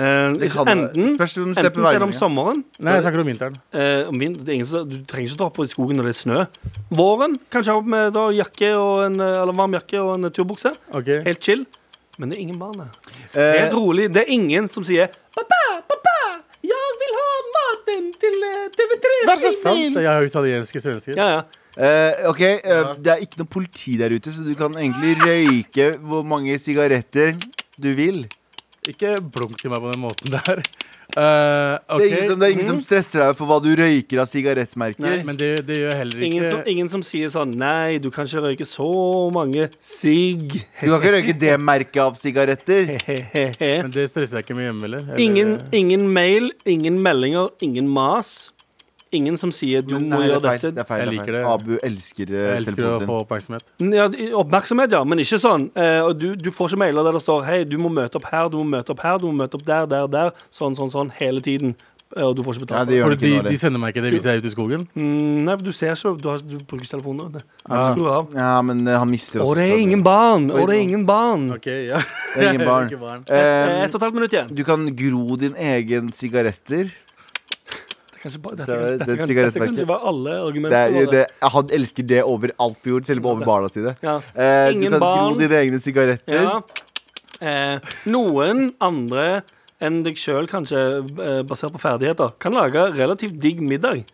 Speaker 2: Eh,
Speaker 3: Det
Speaker 2: ikke-
Speaker 3: kan være-
Speaker 2: enten
Speaker 3: spørs om du
Speaker 2: enten
Speaker 3: ser på
Speaker 2: så er det om
Speaker 3: værmeldingen.
Speaker 2: sommeren.
Speaker 4: Nei, jeg snakker om vinteren.
Speaker 2: Eh, om vind, det er ingen som, du trenger ikke dra opp i skogen når det er snø. Våren kanskje ha opp med da, jakke og en, eh, eller varm jakke og en eh, turbukse.
Speaker 4: Ok
Speaker 2: Helt chill. Men det er ingen barn der.
Speaker 3: Eh,
Speaker 2: Helt rolig. Det er ingen som sier 'Pappa, pappa, jeg vil ha maten til eh, TV3'.
Speaker 3: Vær så
Speaker 4: Sant?
Speaker 3: snill!
Speaker 4: Jeg har italienske svensker.
Speaker 2: Ja, ja.
Speaker 3: Eh, ok, eh, Det er ikke noe politi der ute, så du kan egentlig røyke hvor mange sigaretter du vil.
Speaker 4: Ikke blunk til meg på den måten der. Eh,
Speaker 3: Det, er ingen som,
Speaker 4: ok
Speaker 3: det er ingen
Speaker 2: Mm.
Speaker 3: som stresser deg for hva du røyker av sigarettmerker.
Speaker 4: Men det, det gjør jeg heller
Speaker 2: Ingen, som,
Speaker 4: ikke.
Speaker 2: ingen som sier sånn 'Nei, du kan ikke røyke så mange sigg'.
Speaker 3: Du kan ikke røyke det merket av sigaretter.
Speaker 2: He-he-he.
Speaker 4: Men det stresser jeg ikke med hjemme heller. Eller-
Speaker 2: Ingen, ingen mail, ingen meldinger, ingen mas. Ingen som sier 'du
Speaker 3: Men
Speaker 2: må
Speaker 3: nei, det er
Speaker 2: gjøre
Speaker 3: feil. Det
Speaker 2: dette'.
Speaker 3: er feil,
Speaker 4: Jeg
Speaker 3: det er
Speaker 4: liker det.
Speaker 3: feil. Abu elsker eh,
Speaker 4: Jeg elsker å
Speaker 3: telefonen
Speaker 4: få
Speaker 3: sin.
Speaker 4: oppmerksomhet.
Speaker 2: Ja, oppmerksomhet, ja, men ikke sånn. Eh, og du, du får ikke mailer der det står 'hei, du må møte opp her, du må møte opp her, du må møte opp der, der, der'. Sånn, sånn, sånn, hele tiden. Eh, og du får ikke
Speaker 3: Nei,
Speaker 2: betalt. for det.
Speaker 3: det gjør
Speaker 4: For
Speaker 3: det ikke
Speaker 4: de,
Speaker 3: noe
Speaker 4: de
Speaker 3: heller.
Speaker 4: sender meg ikke det hvis jeg er ute i skogen.
Speaker 2: Mm, nei, for du ser ikke, du, har, du bruker ikke telefonen. Det.
Speaker 4: Ah.
Speaker 2: Skru av.
Speaker 3: Ja, men eh, han mister
Speaker 2: Og
Speaker 3: også
Speaker 2: det er
Speaker 3: stadig.
Speaker 2: ingen barn! Og
Speaker 3: Oi,
Speaker 2: det er
Speaker 3: nå.
Speaker 2: ingen barn!
Speaker 4: Ok, ja
Speaker 3: Det er ingen barn.
Speaker 4: Ikke barn.
Speaker 2: Eh,
Speaker 3: Eh,
Speaker 2: Ett og et halvt minutt igjen.
Speaker 3: du kan gro din egen sigaretter.
Speaker 2: Det kan ikke bare, dette,
Speaker 3: Så
Speaker 2: kan,
Speaker 3: det-
Speaker 2: dette,
Speaker 3: det
Speaker 2: kan,
Speaker 3: sigarettmerket.
Speaker 2: dette kan ikke være alle
Speaker 3: Det er,
Speaker 2: argumenter.
Speaker 3: jo
Speaker 2: våre.
Speaker 3: det, han elsker det over alt på jord, selv om over barna sine.
Speaker 2: Ja.
Speaker 3: Eh, du
Speaker 2: Ingen
Speaker 3: kan gro
Speaker 2: barn.
Speaker 3: dine egne sigaretter.
Speaker 2: Ja. Eh, noen andre enn deg sjøl, kanskje, eh, basert på ferdigheter, kan lage relativt digg middag.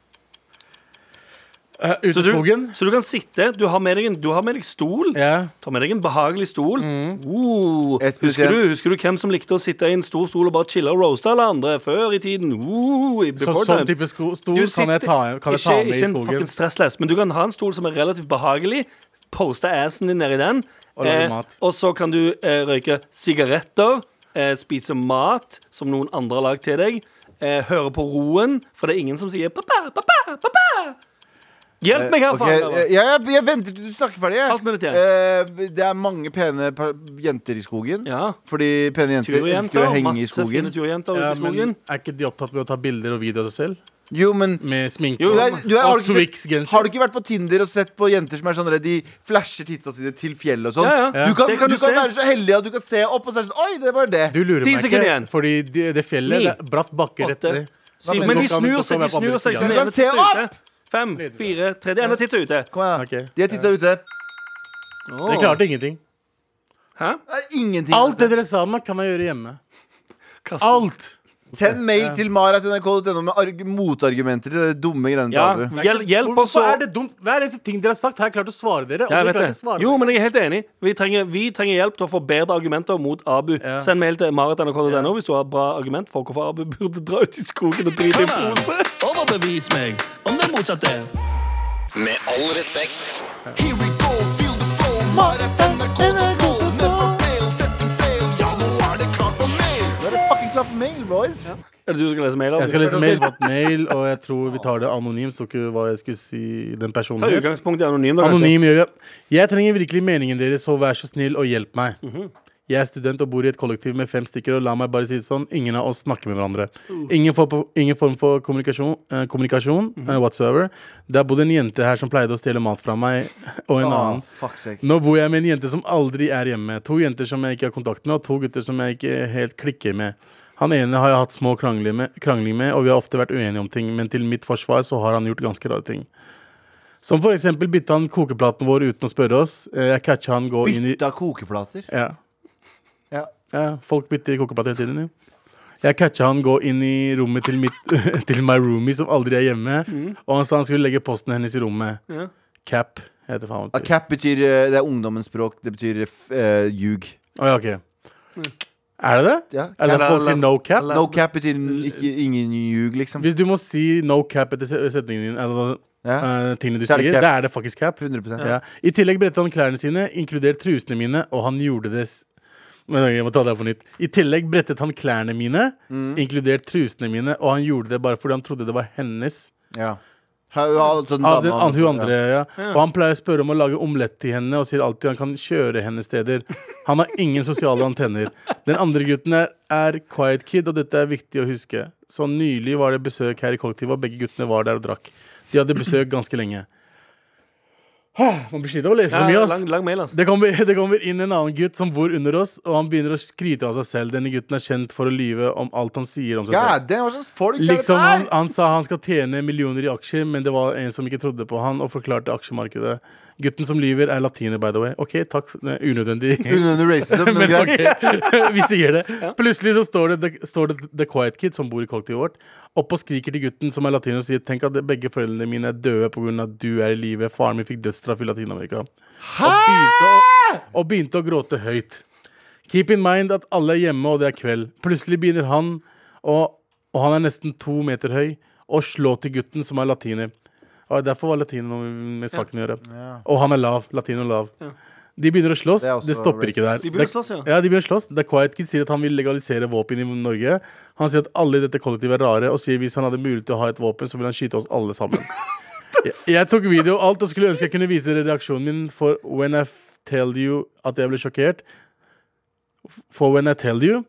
Speaker 4: Eh, Ute i skogen?
Speaker 2: så du kan sitte. Du har med deg en, du har med deg stol.
Speaker 4: Ja. Mm.
Speaker 2: Ta med deg en behagelig stol. Uh,
Speaker 3: Et pluss
Speaker 2: husker, du, husker du hvem som likte å sitte i en stor stol og bare chille og roaste alle andre før i tiden? Uh, i
Speaker 4: Så,
Speaker 2: before
Speaker 4: sånn
Speaker 2: time.
Speaker 4: type sko
Speaker 2: Du
Speaker 4: stol kan jeg ta,
Speaker 2: sitter-
Speaker 4: kan jeg ta
Speaker 2: ikke,
Speaker 4: med i
Speaker 2: ikke en
Speaker 4: skogen.
Speaker 2: fucking stressless, men du kan ha en stol som er relativt behagelig. Poste assen din nedi den. eh,
Speaker 4: Og lage mat.
Speaker 2: og så kan du eh, røyke sigaretter, eh, spise mat som noen andre har lagd til deg, eh, høre på roen, for det er ingen som sier 'pappa, pappa, pappa'. Hjelp
Speaker 4: Eh,
Speaker 2: meg her,
Speaker 3: Ok,
Speaker 2: faen! eller?
Speaker 3: jeg, jeg, jeg venter til du snakker ferdig. jeg.
Speaker 2: Halvt minutt igjen.
Speaker 3: Eh, det er mange pene pa- jenter i skogen.
Speaker 2: Ja.
Speaker 3: Fordi pene jenter elsker
Speaker 2: Turjenter.
Speaker 3: å henge i
Speaker 2: Masse fine
Speaker 3: skogen.
Speaker 4: Ja,
Speaker 2: turjenter ute i
Speaker 4: men
Speaker 2: skogen.
Speaker 4: er ikke de opptatt med å ta bilder og video av seg selv?
Speaker 3: Jo, men
Speaker 4: Med sminke
Speaker 2: Jo,
Speaker 3: du er,
Speaker 4: og,
Speaker 3: du er, har,
Speaker 4: og
Speaker 3: du ikke sett,
Speaker 4: Swix-genser?
Speaker 3: har du ikke vært på Tinder og sett på jenter som er sånn redd de flasher titsa sine til fjellet og sånn?
Speaker 2: Ja, ja.
Speaker 3: Du kan,
Speaker 2: Det kan
Speaker 3: du
Speaker 2: du
Speaker 3: kan
Speaker 2: se.
Speaker 3: være så heldig at du kan se opp, og så er det sånn Oi, det var det.
Speaker 4: Du lurer
Speaker 2: Ti
Speaker 4: meg ikke,
Speaker 2: sekunder igjen.
Speaker 4: fordi de, det fjellet
Speaker 2: Ni,
Speaker 4: det er bratt bakke rett
Speaker 2: åtte,
Speaker 4: ned.
Speaker 2: syv.
Speaker 4: men
Speaker 2: Men de
Speaker 4: dere kan-
Speaker 2: snur
Speaker 4: dere
Speaker 2: seg,
Speaker 4: kan
Speaker 2: de
Speaker 4: være på
Speaker 2: snur
Speaker 4: andre
Speaker 2: seg.
Speaker 4: siden.
Speaker 2: så
Speaker 3: Du
Speaker 2: den
Speaker 3: kan
Speaker 2: ene
Speaker 3: se
Speaker 2: tidser ute.
Speaker 3: opp!
Speaker 2: Fem, fire, tre. Den ene tidser ute.
Speaker 3: Kom igjen, da.
Speaker 4: Ok.
Speaker 3: De er titsa ute.
Speaker 2: Åh.
Speaker 4: Dere klarte ingenting.
Speaker 2: Hæ?
Speaker 3: Det er ingenting.
Speaker 4: Alt det dere sa nå, kan jeg gjøre hjemme.
Speaker 2: Kaste-
Speaker 4: Alt!
Speaker 3: Send mail til mara.nrk.no med arg motargumenter til det dumme greiene til
Speaker 2: Ja,
Speaker 3: Abu.
Speaker 2: hjel, hjelp oss
Speaker 4: Hvorfor
Speaker 2: å
Speaker 4: er det dumt? Hver eneste ting dere har sagt, har jeg klart å svare dere. Og
Speaker 2: Ja,
Speaker 4: dere
Speaker 2: jeg vet
Speaker 4: klarer ikke å
Speaker 2: det.
Speaker 4: svare
Speaker 2: Jo,
Speaker 4: meg.
Speaker 2: men jeg er helt enig. Vi trenger, vi trenger hjelp til å få bedre argumenter mot Abu.
Speaker 4: Ja.
Speaker 2: Send mail til marit.nrk.no hvis du har bra argument for hvorfor Abu burde dra ut i skogen og drite i en
Speaker 5: Come on,
Speaker 2: pose.
Speaker 5: overbevis meg om det motsatte.
Speaker 6: Med all respekt.
Speaker 7: Here we go, feel the flow. Mara NRK.no. Never fail, setting sail. Ja, nå er det klart for mail.
Speaker 3: Nå er det fucking klapp mail, boys.
Speaker 2: Er det du som skal lese mail? Abu?
Speaker 4: Jeg skal lese mail, fått mail, og jeg tror vi tar det anonymt. Så ikke hva jeg skulle si den personen
Speaker 2: Ta
Speaker 4: het.
Speaker 2: utgangspunkt i anonym, da, kanskje.
Speaker 4: Anonym gjør vi. Jeg trenger virkelig meningen deres, så vær så snill og hjelp meg. Jeg er student og bor i et kollektiv med fem stykker, og la meg bare si det sånn, ingen av oss snakker med hverandre. Ingen, for, ingen form for kommunikasjon, eh, kommunikasjon eh, whatsoever. Det har bodd en jente her som pleide å stjele mat fra meg, og en
Speaker 3: Å,
Speaker 4: annen.
Speaker 3: Ah, fuck sake.
Speaker 4: Nå bor jeg med en jente som aldri er hjemme. To jenter som jeg ikke har kontakt med, og to gutter som jeg ikke helt klikker med. Han ene har jeg hatt små krangler med, krangling med, og vi har ofte vært uenige om ting, men til mitt forsvar så har han gjort ganske rare ting. Som for eksempel bytta han kokeplaten vår uten å spørre oss. Eh, Jeg catcha han gå inn i
Speaker 3: Bytta kokeplater.
Speaker 4: ja.
Speaker 3: Ja.
Speaker 4: ja, folk bytter kokeplater hele tiden, jo. Jeg catcha han gå inn i rommet til, mitt, til my roomie, som aldri er hjemme. Og han sa han skulle legge posten hennes i rommet.
Speaker 2: Ja.
Speaker 4: Cap heter faen
Speaker 3: Ja,
Speaker 4: meg.
Speaker 3: cap betyr eh, Det er ungdommens språk. Det betyr uh, ljug.
Speaker 4: Å ja, ok. Er det det?
Speaker 3: Ja,
Speaker 4: er det
Speaker 2: cap.
Speaker 4: derfor folk sier no cap?
Speaker 3: No cap betyr n- ikke, ingen ljug, liksom.
Speaker 4: Hvis du må si no cap etter se- setningen din, altså,
Speaker 3: Ja,
Speaker 4: eh, tingene du
Speaker 3: Så er det
Speaker 4: sier,
Speaker 3: cap.
Speaker 4: da er det faktisk cap.
Speaker 3: 100
Speaker 4: Ja. I tillegg brettet han klærne sine, inkludert trusene mine, og han gjorde det s- Men jeg må ta det her på nytt. I tillegg brettet han klærne mine,
Speaker 3: Mm.
Speaker 4: inkludert trusene mine, og han gjorde det bare fordi han trodde det var hennes.
Speaker 3: Ja. Ha- ja, altså den
Speaker 4: Av den,
Speaker 3: dama-
Speaker 4: an, hun andre, ja. Og han pleier å spørre om å lage omelett til henne, og sier alltid han kan kjøre henne steder. Han har ingen sosiale antenner. Den andre gutten er, er quiet kid, og dette er viktig å huske. Så nylig var det besøk her i kollektivet, og begge guttene var der og drakk. De hadde besøk ganske lenge. Åh, Man blir sliten av å lese så mye,
Speaker 2: Ja,
Speaker 4: ass.
Speaker 2: lang, lang mail, ass.
Speaker 4: Det kommer, det kommer inn en annen gutt som bor under oss, og han begynner å skryte av seg selv. Denne gutten er kjent for å lyve om alt han sier om seg
Speaker 3: Ja,
Speaker 4: selv.
Speaker 3: det er hva slags folk er
Speaker 4: Liksom
Speaker 3: det
Speaker 4: han,
Speaker 3: der?
Speaker 4: han sa han skal tjene millioner i aksjer, men det var en som ikke trodde på han, og forklarte aksjemarkedet. Gutten som lyver, er latiner, by the way. OK, takk. Nei, Unødvendig.
Speaker 3: Unødvendig racism, men
Speaker 4: Men
Speaker 3: greit.
Speaker 4: ok, vi sier det. Plutselig så står det, det, står det The Quiet Kid, som bor i kollektivet vårt, opp og skriker til gutten som er latino og sier Tenk at begge foreldrene mine er døde pga. at du er i live. Faren min fikk dødsstraff i Latin-Amerika. Og, begynte å- og begynte å gråte høyt. Keep in mind at alle er hjemme, og det er kveld. Plutselig begynner han, og, og han er nesten to meter høy, å slå til gutten som er latiner. Og derfor var latino noe med saken å gjøre. Og han er lav. Latino lav. De begynner å slåss.
Speaker 3: Det er også
Speaker 4: Det, stopper ikke der.
Speaker 2: De begynner
Speaker 4: Det-
Speaker 2: å slåss, ja.
Speaker 4: ja, de begynner å slåss. The Quiet Kid sier at han vil legalisere våpen i Norge. Han sier at alle i dette kollektivet er rare, og sier hvis han hadde mulighet til å ha et våpen, så ville han skyte oss alle sammen. jeg, jeg tok video og alt og skulle ønske jeg kunne vise dere reaksjonen min, for when I f- tell you at jeg ble sjokkert For when I tell you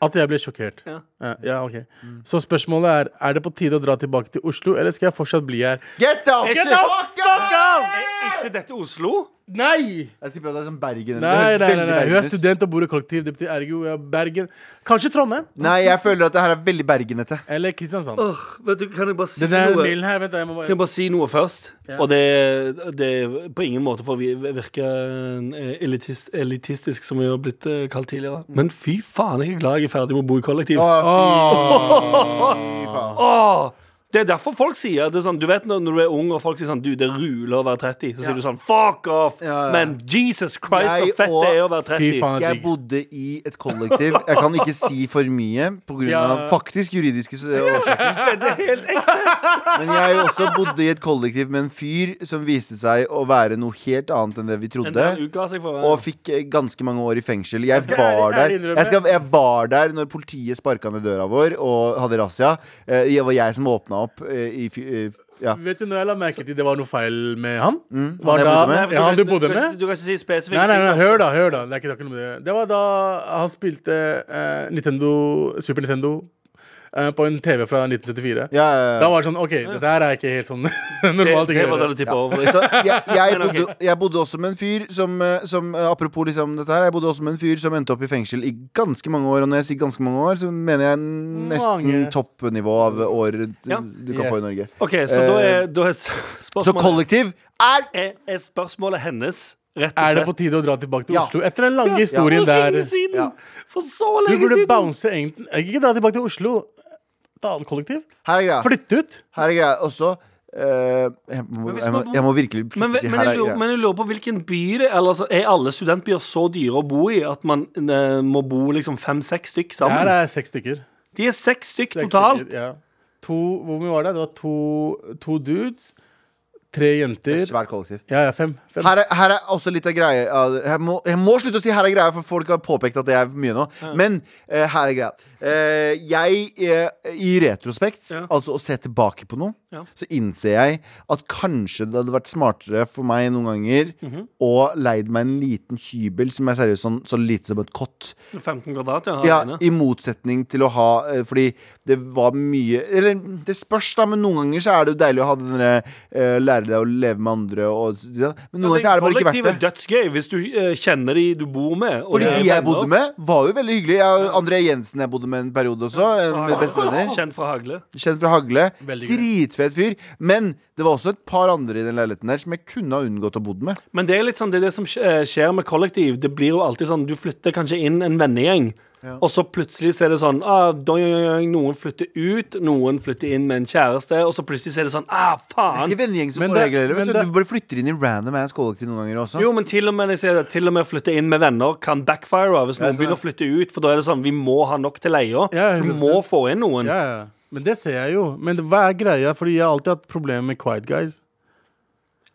Speaker 4: at jeg ble sjokkert.
Speaker 2: Ja. Mm.
Speaker 4: Eh, ja ok. Så spørsmålet er er det på tide å dra tilbake til Oslo, eller skal jeg fortsatt bli her?
Speaker 3: Get the
Speaker 2: Get
Speaker 3: fuck
Speaker 2: the
Speaker 3: out!
Speaker 2: Er ikke dette Oslo?
Speaker 4: Nei!
Speaker 3: Jeg tipper at det er sånn Bergen. eller-
Speaker 4: Nei, nei,
Speaker 3: det høres
Speaker 4: nei,
Speaker 3: veldig
Speaker 4: nei. Hun
Speaker 3: Bergen
Speaker 4: er
Speaker 3: ut.
Speaker 4: student og bor i kollektiv. Det betyr ergo ja, Bergen. Kanskje Trondheim?
Speaker 3: Nei, jeg føler at det her er veldig bergenete.
Speaker 4: Eller Kristiansand.
Speaker 2: Åh, vet du, kan jeg bare si
Speaker 4: Den der
Speaker 2: noe?
Speaker 4: mailen her, vet du, jeg må
Speaker 2: Kan jeg
Speaker 4: bare
Speaker 2: bare si noe først?
Speaker 4: Ja.
Speaker 2: Og det, det er på ingen måte for å vi- virke eh, elitist, elitistisk, som vi har blitt eh, kalt tidligere. Men fy faen, jeg er glad jeg er ferdig med å bo i kollektiv.
Speaker 3: Å,
Speaker 2: Åh,
Speaker 3: fy faen.
Speaker 2: det er derfor folk sier det er sånn, Du vet når, når du er ung og folk sier sånn Du, det ruler å være 30. Så sier du sånn Fuck off!
Speaker 3: Ja, ja.
Speaker 2: Men Jesus Christ, så
Speaker 3: Jeg
Speaker 2: fett det er å være
Speaker 4: Fy faen,
Speaker 2: 30.
Speaker 4: det er
Speaker 3: Jeg
Speaker 4: digg.
Speaker 3: bodde i et kollektiv. Jeg kan ikke si for mye pga.
Speaker 4: Ja.
Speaker 3: faktisk juridiske s- årsaker.
Speaker 2: Det er helt ekte.
Speaker 3: Men jeg også bodde i et kollektiv med en fyr som viste seg å være noe helt annet enn det vi
Speaker 2: Men den
Speaker 3: trodde.
Speaker 2: utga
Speaker 4: altså,
Speaker 2: seg for
Speaker 3: Og fikk eh, ganske mange år i fengsel. Jeg
Speaker 4: skal ærlig-
Speaker 3: var der
Speaker 4: ærlig innrømme.
Speaker 3: Jeg, skal, jeg var der når politiet sparka ned døra vår og hadde razzia. Eh, Det var jeg som åpna opp. eh, I, fy- eh, ja.
Speaker 4: Vet du når jeg la merke til det var noe feil med han?
Speaker 3: Mm. han
Speaker 4: var
Speaker 3: jeg
Speaker 4: da,
Speaker 3: bodde med?
Speaker 4: Nei,
Speaker 2: Nei, for
Speaker 4: ja, han du
Speaker 2: kan-
Speaker 4: bodde
Speaker 2: kan ikke-
Speaker 4: med?
Speaker 2: Du kan ikke si spesifikke
Speaker 4: Nei, nei, nei,
Speaker 2: ting.
Speaker 4: hør da. hør da Det, er ikke, det, har ikke noe med det. det var da han spilte eh, Nintendo, Super Nintendo eh, på en TV fra 1974.
Speaker 3: Ja, ja, ja.
Speaker 4: Da var det sånn OK, det der er ikke helt sånn normalt.
Speaker 2: Det, det
Speaker 4: ikke
Speaker 2: var
Speaker 4: det.
Speaker 2: da du tippa over.
Speaker 3: Så jeg, jeg,
Speaker 2: Men ok.
Speaker 3: bodde, jeg bodde også med en fyr som, eh, som eh, Apropos liksom dette her Jeg bodde også med en fyr som endte opp i fengsel i ganske mange år. Og når jeg sier ganske mange år, så mener jeg nesten
Speaker 4: Mange.
Speaker 3: toppnivå av år d-
Speaker 2: Ja.
Speaker 3: du kan
Speaker 4: Yes.
Speaker 3: få i Norge.
Speaker 2: OK, så da er, da er s-
Speaker 3: Eh, Så
Speaker 2: spørsmålet
Speaker 3: kollektiv er
Speaker 2: er, er spørsmålet hennes rett og
Speaker 4: Er det
Speaker 2: slett
Speaker 4: på tide å dra tilbake til
Speaker 3: Ja.
Speaker 4: Oslo? Etter den lange historien
Speaker 2: For
Speaker 4: der.
Speaker 2: lenge siden!
Speaker 3: Ja.
Speaker 2: For så
Speaker 4: Du
Speaker 2: lenge
Speaker 4: burde
Speaker 2: siden!
Speaker 4: bounce egentlig Ikke dra tilbake til Oslo. Ta annet kollektiv.
Speaker 3: Her er greia.
Speaker 4: Flytte ut.
Speaker 3: Her er greia. Også eh, jeg, må,
Speaker 2: hvis
Speaker 3: jeg, må,
Speaker 2: man-
Speaker 3: jeg må virkelig
Speaker 2: Men,
Speaker 3: flytte til
Speaker 2: men,
Speaker 3: her
Speaker 2: jeg
Speaker 3: er
Speaker 2: lurer,
Speaker 3: greia.
Speaker 2: men jeg lurer på hvilken by det er. Altså, er alle studentbyer så dyre å bo i at man eh, må bo liksom fem-seks stykk sammen?
Speaker 4: Her er seks stykker.
Speaker 2: De er seks stykk
Speaker 4: Seks
Speaker 2: totalt.
Speaker 4: stykker, Ja. To, hvor mye var det? Det var to, to dudes, tre jenter
Speaker 3: Svært kollektiv.
Speaker 4: Ja, ja, fem. fem.
Speaker 3: Her er, her er også litt av greia jeg må, jeg må slutte å si 'her er greia', for folk har påpekt at det er mye nå. Men eh, her er greia. Eh, jeg, eh, i retrospekt,
Speaker 2: Ja.
Speaker 3: altså å se tilbake på noe,
Speaker 2: Ja.
Speaker 3: så innser jeg at kanskje det hadde vært smartere for meg noen ganger å leid meg en liten hybel som er seriøst sånn, så lite som et kott.
Speaker 2: 15 kvadrat, ja.
Speaker 3: Ja,
Speaker 2: alene.
Speaker 3: I motsetning til å ha eh, Fordi det var mye Eller det spørs, da, men noen ganger så er det jo deilig å ha den derre eh, lære deg å leve med andre og Men noen ganger så er det bare ikke verdt det.
Speaker 2: Kollektivet er dødsgøy hvis du eh, kjenner de du bor med. og
Speaker 3: Fordi
Speaker 2: det er
Speaker 3: de jeg
Speaker 2: venner.
Speaker 3: bodde med, var jo veldig hyggelige. Jeg, André Jensen jeg bodde med en periode også. En av mine beste venner.
Speaker 2: Kjent fra Hagle.
Speaker 3: Kjent fra Hagle.
Speaker 4: Veldig gøy.
Speaker 3: dødsfet fyr. Men det var også et par andre i den leiligheten der som jeg kunne ha unngått å bo med.
Speaker 2: Men det er litt sånn, det er det som skj- eh, skjer med kollektiv. Det blir jo alltid sånn, Du flytter kanskje inn en vennegjeng, og så plutselig så er det sånn ah, doing, doing, doing, Noen flytter ut, noen flytter inn med en kjæreste, og så plutselig så er det sånn ah,
Speaker 3: I
Speaker 2: faen!
Speaker 3: vennegjeng som
Speaker 4: Men det-
Speaker 3: korregulerer,
Speaker 4: men
Speaker 3: vet du.
Speaker 4: det-
Speaker 3: Du bare flytter inn i random ass kollektiv noen ganger også.
Speaker 2: Jo, men til og med når jeg sier det, til og med å flytte inn med venner kan backfire hvis noen
Speaker 3: sånn
Speaker 2: begynner å flytte ut. For da er det sånn, vi må ha nok til leia.
Speaker 4: Ja,
Speaker 2: vi
Speaker 4: 100%.
Speaker 2: må få inn noen.
Speaker 4: Ja, ja. Men det ser jeg jo. Men det- hva er greia? Fordi jeg har alltid hatt problemer med quiet guys.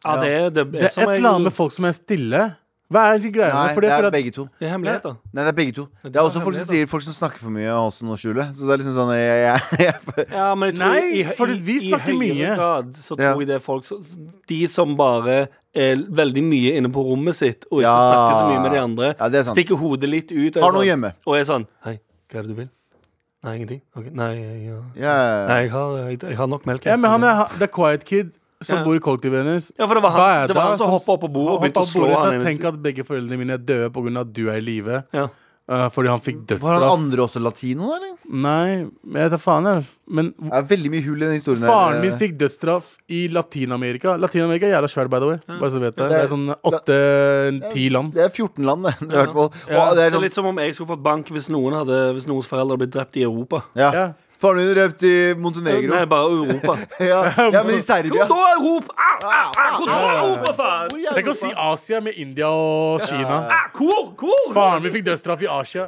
Speaker 2: Ja, det, er- det,
Speaker 4: Det er et eller annet med folk som er stille. Hva er egentlig greia?
Speaker 3: Nei,
Speaker 4: med- for
Speaker 3: det er
Speaker 4: for at-
Speaker 3: begge to.
Speaker 2: Det er hemmeligheter.
Speaker 3: Nei, det er begge to. Det er også folk som sier folk som snakker for mye av halsen og skjulet. Så det er liksom sånn jeg, jeg, jeg,
Speaker 2: Ja, men jeg tror
Speaker 4: Nei,
Speaker 2: i,
Speaker 4: for
Speaker 2: i,
Speaker 4: vi snakker
Speaker 2: i høyere
Speaker 4: mye.
Speaker 2: grad så tror
Speaker 3: Ja.
Speaker 2: jeg det er folk som De som bare er veldig mye inne på rommet sitt og ikke
Speaker 3: Ja.
Speaker 2: snakker så mye med de andre.
Speaker 3: Ja, det er sant.
Speaker 2: Stikker hodet litt ut. og er
Speaker 3: Har noe
Speaker 2: sånn-
Speaker 3: hjemme.
Speaker 2: Og er sånn Hei, hva er det du vil? Nei, ingenting. Ok, Nei, jeg, ja.
Speaker 3: jeg,
Speaker 2: Nei jeg, har, jeg, jeg har nok melk.
Speaker 4: Ja, men han er the quiet kid som
Speaker 2: Ja.
Speaker 4: bor i kollektivet hennes.
Speaker 2: Ja, for det var han-
Speaker 4: Hva er
Speaker 2: det var han som hoppet opp på bordet og
Speaker 4: Han
Speaker 2: begynte
Speaker 4: hoppet opp
Speaker 2: å
Speaker 4: på
Speaker 2: slå
Speaker 4: bordet, så
Speaker 2: han
Speaker 4: jeg
Speaker 2: inn i-
Speaker 4: Tenk at begge foreldrene mine er døde pga. at du er i live.
Speaker 2: ja.
Speaker 4: eh, fordi han fikk
Speaker 3: Var han
Speaker 4: dødsstraff.
Speaker 3: andre også latino, da, eller?
Speaker 4: Nei, men jeg vet da faen, jeg. Men
Speaker 3: Det er veldig mye hull i den historien. her.
Speaker 4: faren min fikk dødsstraff i Latin-Amerika. Latin-Amerika er jævla svært, by the way. Bare så du vet det. Det er sånn åtte-ti land.
Speaker 3: Det er 14 land, det. I hvert fall.
Speaker 4: Ja,
Speaker 3: Og det
Speaker 2: Det
Speaker 3: er
Speaker 2: er
Speaker 3: sånn,
Speaker 2: litt som om jeg skulle fått bank hvis, noen hadde, hvis noens foreldre hadde blitt drept i Europa.
Speaker 3: ja.
Speaker 4: Ja.
Speaker 3: Faren min røpt i
Speaker 2: Nei,
Speaker 3: Montenegro.
Speaker 2: bare Europa.
Speaker 3: Ja, ja men i Serbia.
Speaker 2: Kom da, Europa! Au, au, au! ah, Kom da, Europa, faen!
Speaker 4: Tenk å si Asia med India og Kina.
Speaker 2: Ah, Hvor? Hvor?
Speaker 4: Faren min fikk dødsstraff i Asia.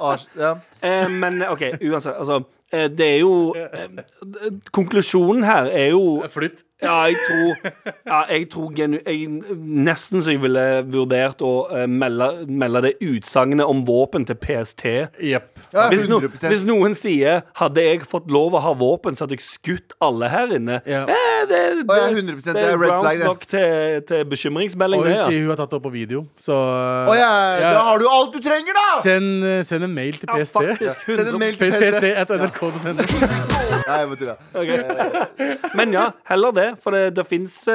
Speaker 3: Ars- Ja.
Speaker 2: Eh, men OK, uansett. Altså, eh, det er jo eh, d- Konklusjonen her er jo
Speaker 4: Flytt.
Speaker 2: Ja, jeg tror, ja, jeg tror genu, jeg, Nesten så jeg ville vurdert å eh, melde, melde det utsagnet om våpen til PST.
Speaker 4: Jepp.
Speaker 3: Ja,
Speaker 2: Hvis, no,
Speaker 3: 100%.
Speaker 2: hvis noen sier 'hadde jeg fått lov å ha våpen, så hadde jeg skutt alle her inne'
Speaker 4: Ja.
Speaker 2: eh, det, det,
Speaker 3: Å, ja, 100%, det er red
Speaker 2: grounds
Speaker 3: flag, det.
Speaker 2: nok til, til bekymringsmelding,
Speaker 4: Og hun
Speaker 2: det,
Speaker 4: sier
Speaker 2: ja.
Speaker 4: hun har tatt det opp på video, så
Speaker 3: Å ja,
Speaker 4: Ja.
Speaker 3: da har du alt du trenger, da!
Speaker 4: send, send en mail til
Speaker 2: ja
Speaker 4: PST.
Speaker 2: faktisk.
Speaker 3: Send en
Speaker 2: 100
Speaker 3: mail til PST.
Speaker 4: PST at nrk.no.
Speaker 3: Nei, jeg bare tuller.
Speaker 2: Men ja, heller det. For det, det fins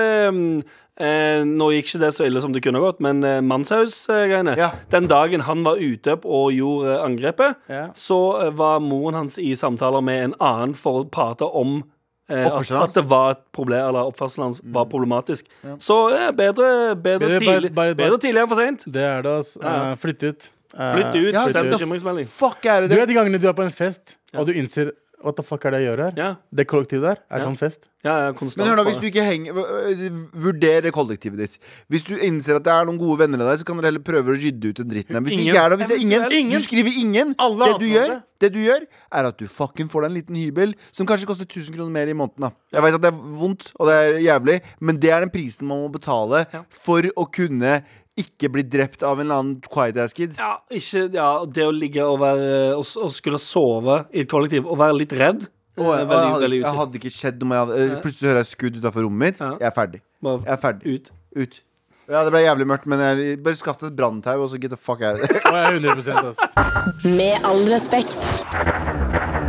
Speaker 2: Nå gikk ikke det så ille som det kunne gått, men eh, mannshaus-greiene
Speaker 3: Ja.
Speaker 2: Den dagen han var ute opp og gjorde eh, angrepet,
Speaker 4: Ja.
Speaker 2: så eh, var moren hans i samtaler med en annen for å prate om eh, at,
Speaker 3: Oppførselen hans. Mm.
Speaker 2: at det var et problem, eller oppførselen hans var problematisk. Så eh, bedre, bedre,
Speaker 4: Bedre bare-
Speaker 2: tidlig,
Speaker 4: bare- bare-
Speaker 2: bedre tidlig enn for seint.
Speaker 4: Det er det, ass. Eh, Flytt ut. Eh,
Speaker 2: Flytt ut.
Speaker 3: Ja,
Speaker 2: send
Speaker 3: the
Speaker 2: bekymringsmelding.
Speaker 3: Fuck er det
Speaker 4: Du
Speaker 3: det?
Speaker 4: vet de gangene du er på en fest, og du innser What the fuck er det jeg gjør her?
Speaker 2: Ja.
Speaker 4: Det kollektivet der er sånn fest.
Speaker 2: Ja, ja, konstant.
Speaker 3: Men hør da, hvis
Speaker 2: bare.
Speaker 3: du ikke henger v- Vurder det kollektivet ditt. Hvis du innser at det er noen gode venner av deg, så kan dere heller prøve å rydde ut den dritten der. Hvis det
Speaker 2: Ingen.
Speaker 3: ikke er det, hvis det er ingen,
Speaker 4: Eventuelt ingen.
Speaker 3: du skriver ingen.
Speaker 4: Alle
Speaker 3: det, du
Speaker 4: hater
Speaker 3: gjør,
Speaker 4: hverandre.
Speaker 3: det du gjør, er at du fucking får deg en liten hybel som kanskje koster 1000 kroner mer i måneden. Da. Jeg vet at det er vondt, og det er jævlig, men det er den prisen man må betale for å kunne ikke bli drept av en eller annen quiet ass kid.
Speaker 2: Ja, ikke, ja, det å ligge og, være, og, s- og skulle sove i et kollektiv og være litt redd eh,
Speaker 3: Og jeg, og jeg,
Speaker 2: Veldig,
Speaker 3: hadde,
Speaker 2: veldig
Speaker 3: jeg
Speaker 2: utsatt.
Speaker 3: hadde ikke skjedd om jeg hadde øh, Plutselig hører jeg skudd utafor rommet mitt.
Speaker 2: Ja.
Speaker 3: Jeg er ferdig.
Speaker 2: Bare
Speaker 3: Jeg er ferdig.
Speaker 2: ut.
Speaker 3: Ut. Ja, det ble jævlig mørkt, men jeg, bare skaff deg et branntau, og så get the fuck out.
Speaker 4: Og jeg er 100 ass.
Speaker 1: Med all respekt.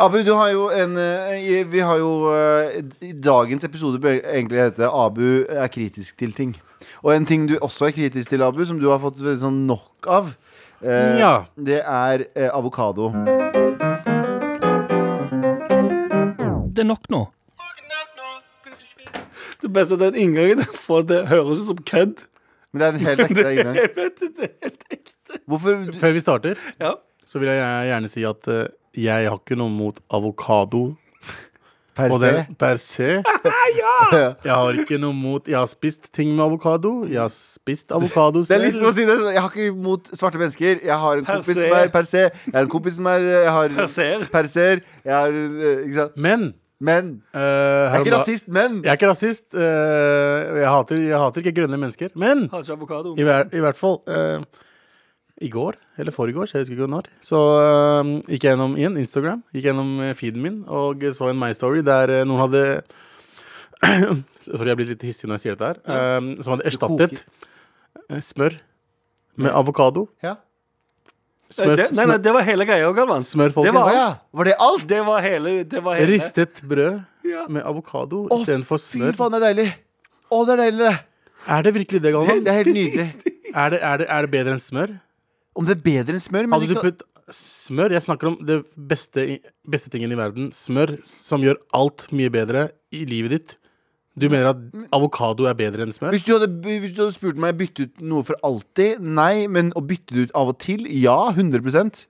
Speaker 3: Abu, du har jo en eh, i- Vi har jo eh, i Dagens episode bør egentlig hete 'Abu er kritisk til ting'. Og en ting du også er kritisk til, Abu, som du har fått veldig sånn nok av, eh,
Speaker 4: Ja.
Speaker 3: det er eh, avokado.
Speaker 2: Det er nok nå. Det beste er den inngangen der, for det høres ut som kødd.
Speaker 3: Men det er en helt ekte inngang.
Speaker 2: Jeg vet det, det er helt ekte.
Speaker 3: Hvorfor du-
Speaker 4: Før vi starter,
Speaker 2: Ja.
Speaker 4: så vil jeg gjerne si at eh, jeg har ikke noe mot avokado
Speaker 3: per
Speaker 4: på
Speaker 3: se?
Speaker 4: den per se. Jeg har ikke noe mot Jeg har spist ting med avokado. Jeg har spist avokado
Speaker 3: Det er
Speaker 4: selv.
Speaker 3: litt som å si det. Jeg har ikke imot svarte mennesker. Jeg har en
Speaker 2: Per
Speaker 3: kompis
Speaker 2: se.
Speaker 3: som er per se. Jeg har en kompis som er eh, jeg har,
Speaker 2: Perser.
Speaker 3: Perser. Jeg har eh, Ikke sant.
Speaker 4: Men
Speaker 3: Men.
Speaker 4: eh,
Speaker 3: Jeg
Speaker 4: her
Speaker 3: er
Speaker 4: om
Speaker 3: ikke
Speaker 4: da-
Speaker 3: rasist, men.
Speaker 4: Jeg er ikke rasist. eh, jeg, hater, jeg hater ikke grønne mennesker. Men
Speaker 2: Har ikke avokado.
Speaker 4: i, hver, i hvert fall eh, I går, eller foregårs, jeg husker ikke når, så eh, gikk jeg gjennom igjen Instagram. Gikk gjennom eh, feeden min og så en My Story der eh, noen hadde Sorry, jeg blir litt hissig når jeg sier dette her. eh, som hadde erstattet eh, smør med avokado.
Speaker 3: Ja.
Speaker 4: Smør,
Speaker 2: Eh, det, nei, nei,
Speaker 4: smør,
Speaker 2: det var hele greia, Galvan.
Speaker 4: smør
Speaker 2: Det
Speaker 4: folkens.
Speaker 3: Å
Speaker 2: var,
Speaker 3: ja. Var det alt?
Speaker 2: det var hele, det var hele.
Speaker 4: Ristet brød
Speaker 2: Ja.
Speaker 4: med avokado
Speaker 3: Å,
Speaker 4: istedenfor
Speaker 3: Fy
Speaker 4: smør.
Speaker 3: faen, det er deilig. Å, det er deilig, det.
Speaker 4: Er det virkelig det,
Speaker 3: Det,
Speaker 4: Galvan?
Speaker 3: det er helt nydelig.
Speaker 4: Er det, er, det, er det bedre enn smør?
Speaker 3: Om det er bedre enn smør, men
Speaker 4: Hadde
Speaker 3: det
Speaker 4: du
Speaker 3: kan-
Speaker 4: putt smør. Jeg snakker om det beste, i- beste tingen i verden. Smør som gjør alt mye bedre i livet ditt. Du mener at avokado er bedre enn smør?
Speaker 3: Hvis du, hadde, hvis du hadde spurt meg bytte ut noe for alltid, nei. Men å bytte det ut av og til, ja. 100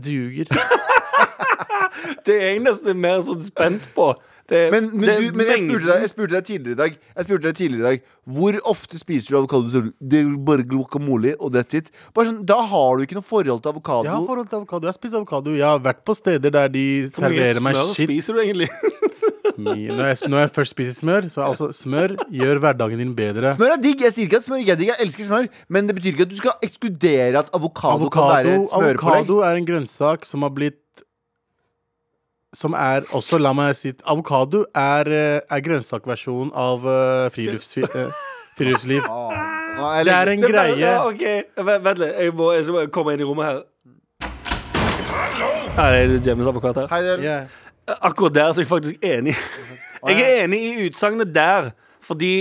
Speaker 4: Du ljuger.
Speaker 2: Det er jeg nesten mer sånn spent på. Det,
Speaker 3: Men, men,
Speaker 2: det,
Speaker 3: du, men jeg,
Speaker 2: mengden-
Speaker 3: spurte deg, jeg spurte deg tidligere i dag Jeg spurte deg tidligere i dag Hvor ofte spiser du avokado? Så du, Det er bare guacamole og that's it Bare sånn, Da har du ikke noe forhold til avokado
Speaker 4: Jeg har forhold til avokado. Jeg har spist avokado. Jeg har vært på steder der de
Speaker 2: Hvor mye
Speaker 4: serverer meg
Speaker 2: smør
Speaker 4: shit.
Speaker 2: Spiser du egentlig?
Speaker 4: mye. Når jeg, når jeg først spiser smør, så altså smør gjør hverdagen din bedre.
Speaker 3: Smør er digg, jeg sier ikke at smør ikke er digg Jeg elsker smør, men det betyr ikke at du skal ekskludere At avokado, kan være
Speaker 4: Avokado,
Speaker 3: et smørpålegg
Speaker 4: avokado er en grønnsak som har blitt som er også, la meg si Avokado er, eh, er grønnsakversjonen av eh, frilufts, eh, friluftsliv.
Speaker 3: Nå er jeg
Speaker 4: Det er
Speaker 3: lenge-
Speaker 4: en greie.
Speaker 2: Ja, OK, Vent- vent litt. Jeg må, jeg skal bare komme inn i rommet her. Her er det James advokat her.
Speaker 3: Hei, det er-
Speaker 4: Yeah.
Speaker 2: Akkurat der så er jeg faktisk enig. Jeg er enig i utsagnet der, fordi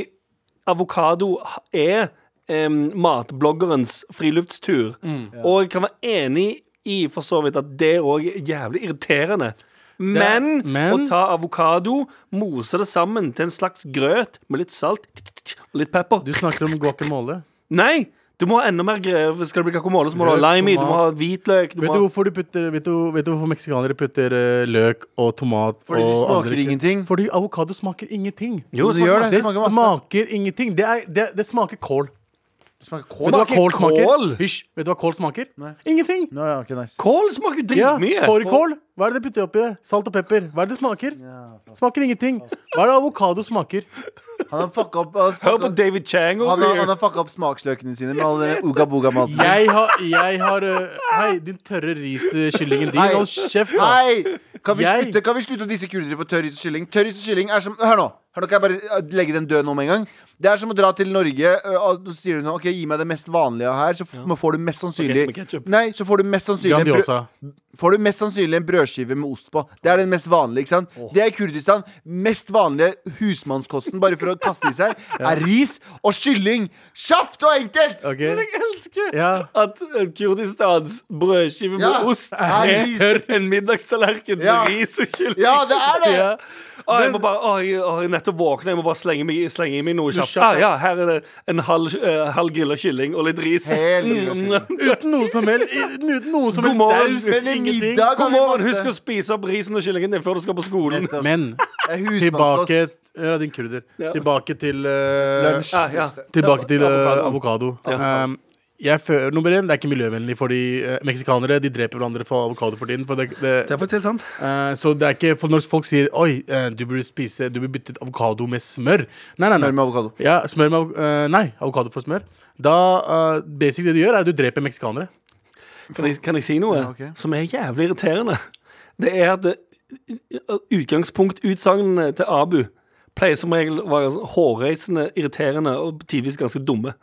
Speaker 2: avokado er em, matbloggerens friluftstur.
Speaker 4: Mm.
Speaker 2: Og jeg kan være enig i for så vidt at det òg er jævlig irriterende. Men,
Speaker 4: men-
Speaker 2: å ta avokado, mose det sammen til en slags grøt med litt salt og litt pepper
Speaker 4: Du snakker om guacamole.
Speaker 2: Nei! Du må ha enda mer grøt. Skal det bli kakomole, så må du ha
Speaker 4: Grøt,
Speaker 2: lime i, du må ha
Speaker 4: tomat.
Speaker 2: hvitløk du
Speaker 4: Vet
Speaker 2: må
Speaker 4: du
Speaker 2: ha...
Speaker 4: hvorfor, de putter, vet du, vet du hvorfor meksikanere putter eh, løk og tomat
Speaker 3: Fordi det
Speaker 4: og
Speaker 3: smaker
Speaker 4: andre-
Speaker 3: ingenting.
Speaker 4: Fordi avokado smaker ingenting.
Speaker 2: Jo,
Speaker 3: det gjør det,
Speaker 4: Det
Speaker 3: det smaker masse
Speaker 4: smaker ingenting. Det, er, det, det smaker kål.
Speaker 3: Det smaker
Speaker 4: Vet
Speaker 3: kål
Speaker 4: du hva kål smaker?
Speaker 2: kål?
Speaker 4: Hysj. Vet du hva kål smaker? Ingenting.
Speaker 3: Nå, ja, ok, nice
Speaker 2: Kål smaker jo
Speaker 4: Ja,
Speaker 2: dritmye!
Speaker 4: Fårikål. Hva er det de putter oppi det? Salt og pepper. Hva er det det smaker? Smaker ingenting. Hva er det avokado smaker?
Speaker 3: Han har fucka opp Han har
Speaker 2: Hør på
Speaker 3: fucka-
Speaker 2: David Chang
Speaker 3: han
Speaker 2: over
Speaker 3: har, han
Speaker 2: here.
Speaker 3: har fucka opp smaksløkene sine Med all den uga-boga-maten
Speaker 4: Jeg har, jeg har øh, Hei, din tørre riskyllingen din.
Speaker 3: Hei.
Speaker 4: Hold kjeft, da.
Speaker 3: Hei! Kan vi,
Speaker 4: Jeg-
Speaker 3: slutte, kan vi slutte å disse kulere for tørris og kylling? Tørris og kylling er som Hør nå! Hør nå kan jeg bare eh, legge den død nå med en gang. Det er som å dra til Norge eh, og så sier du sånn OK, gi meg det mest vanlige her, så f- får du mest sannsynlig
Speaker 2: Spagetti med ketchup.
Speaker 3: Nei, så får du mest sannsynlig en brød-
Speaker 4: Grandiosa.
Speaker 3: Får du mest sannsynlig en brødskive med ost på. Det er den mest vanlige, ikke sant? Det er i Kurdistan. Mest vanlige husmannskosten, bare for å kaste i seg, er ris og kylling. Kjapt og enkelt!
Speaker 4: Ok.
Speaker 2: Jeg elsker
Speaker 4: Ja.
Speaker 2: at eh, Kurdistans brødskive med
Speaker 3: Ja,
Speaker 2: ost
Speaker 3: er
Speaker 2: er
Speaker 3: ris.
Speaker 2: en middagstallerken
Speaker 3: Ja.
Speaker 2: med ris og kylling.
Speaker 3: Ja, det er det!
Speaker 2: Ja. Å, jeg må bare, å, jeg, å, jeg er nettopp våkna, jeg må bare slenge, meg, slenge i meg noe kjapt.
Speaker 4: kjapt,
Speaker 2: Ah, ja, her er det en halv, eh, halv grilla kylling og litt ris.
Speaker 3: Hel grilla
Speaker 2: Mm,
Speaker 3: kylling.
Speaker 2: mm.
Speaker 4: Uten noe som helst Uten noe som
Speaker 2: God
Speaker 4: helst
Speaker 2: morgen.
Speaker 4: saus.
Speaker 3: Men i
Speaker 4: Ingenting.
Speaker 3: middag
Speaker 2: God
Speaker 3: kan vi
Speaker 2: morgen,
Speaker 3: passe-
Speaker 2: husk å spise opp risen og kyllingen din før du skal på skolen.
Speaker 3: Nettopp.
Speaker 4: Men
Speaker 3: Det er husmannskost.
Speaker 4: tilbake Ja, din kurder.
Speaker 2: Ja.
Speaker 4: Tilbake til øh,
Speaker 3: Lunsj.
Speaker 2: Ja, ja.
Speaker 4: Tilbake til eh,
Speaker 2: Avokado.
Speaker 4: avokado. Um, jeg føler, nummer én, det er ikke miljøvennlig, fordi eh, meksikanere de dreper hverandre for avokado for tiden. For det,
Speaker 2: Det
Speaker 4: det,
Speaker 2: er faktisk helt sant.
Speaker 4: eh, så det er ikke for Når folk sier Oi, eh, du burde spise Du burde bytte ut avokado med smør. Nei, nei,
Speaker 3: Smør med
Speaker 4: nei.
Speaker 3: avokado.
Speaker 4: Ja, smør med, av- eh, nei, avokado for smør. Da eh, Basic det du gjør, er at du dreper meksikanere.
Speaker 2: Kan jeg, kan jeg si noe
Speaker 3: Ja, ok.
Speaker 2: som er jævlig irriterende? Det er at eh, utgangspunktutsagnene til Abu pleier som regel å være sånn hårreisende, irriterende og tidvis ganske dumme.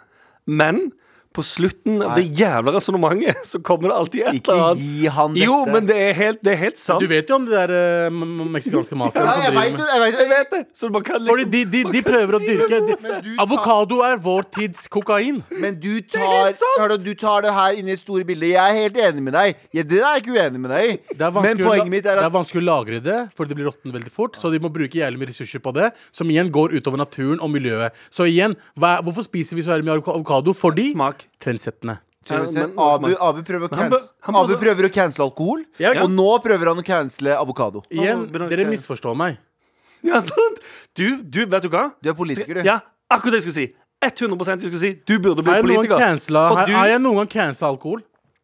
Speaker 2: Men på slutten av det jævla resonnementet så kommer det alltid et
Speaker 3: Ikke
Speaker 2: eller annet.
Speaker 3: gi han dette.
Speaker 2: Jo, men det er helt, det er helt sant.
Speaker 4: Du vet jo om det der eh, m- m- meksikanske mafiaen
Speaker 3: Ja,
Speaker 4: som
Speaker 3: jeg
Speaker 4: driver
Speaker 3: vet
Speaker 4: med
Speaker 3: jo- jeg vet jo-
Speaker 2: Jeg vet det! Så man kan
Speaker 4: Fordi
Speaker 2: liksom
Speaker 4: de, de, de prøver å dyrke
Speaker 3: Men
Speaker 4: de,
Speaker 3: du tar-
Speaker 4: Avokado er vår tids kokain.
Speaker 3: Men du
Speaker 2: er
Speaker 3: tar,
Speaker 2: helt sant!
Speaker 3: hør, da, du tar det her inn i det store bildet. Jeg er helt enig med deg. Ja, det er jeg ikke uenig med deg i.
Speaker 4: Det er,
Speaker 3: Men
Speaker 4: vanskelig å la-
Speaker 3: poenget mitt er
Speaker 4: det
Speaker 3: at
Speaker 4: er vanskelig å lagre det, for det blir råttent veldig fort. Så de må bruke jævlig mye ressurser på det, som igjen går utover naturen og miljøet. Så igjen, hva, hvorfor spiser vi så jævlig mye avoka- avokado? Fordi
Speaker 2: Smak.
Speaker 4: trendsettende.
Speaker 3: Ser du til?
Speaker 2: Men-
Speaker 3: Abu, Abu, prøver å
Speaker 2: han bør-
Speaker 3: cancel,
Speaker 2: han bør-
Speaker 3: Abu prøver å cancele alkohol,
Speaker 4: Ja, ja.
Speaker 3: og nå prøver han å cancele avokado.
Speaker 4: Igjen,
Speaker 2: Å, begynner
Speaker 4: dere
Speaker 2: ikke-
Speaker 4: misforstår meg.
Speaker 2: Ja, sant? Du, du, vet du hva?
Speaker 3: Du er politiker, du.
Speaker 2: Ja, akkurat det jeg skulle si. 100 jeg skulle si. Du burde bli
Speaker 4: Har jeg noen gang
Speaker 2: politiker.
Speaker 4: cancela,
Speaker 2: For
Speaker 4: har,
Speaker 2: du-
Speaker 4: har jeg noen gang cancela alkohol?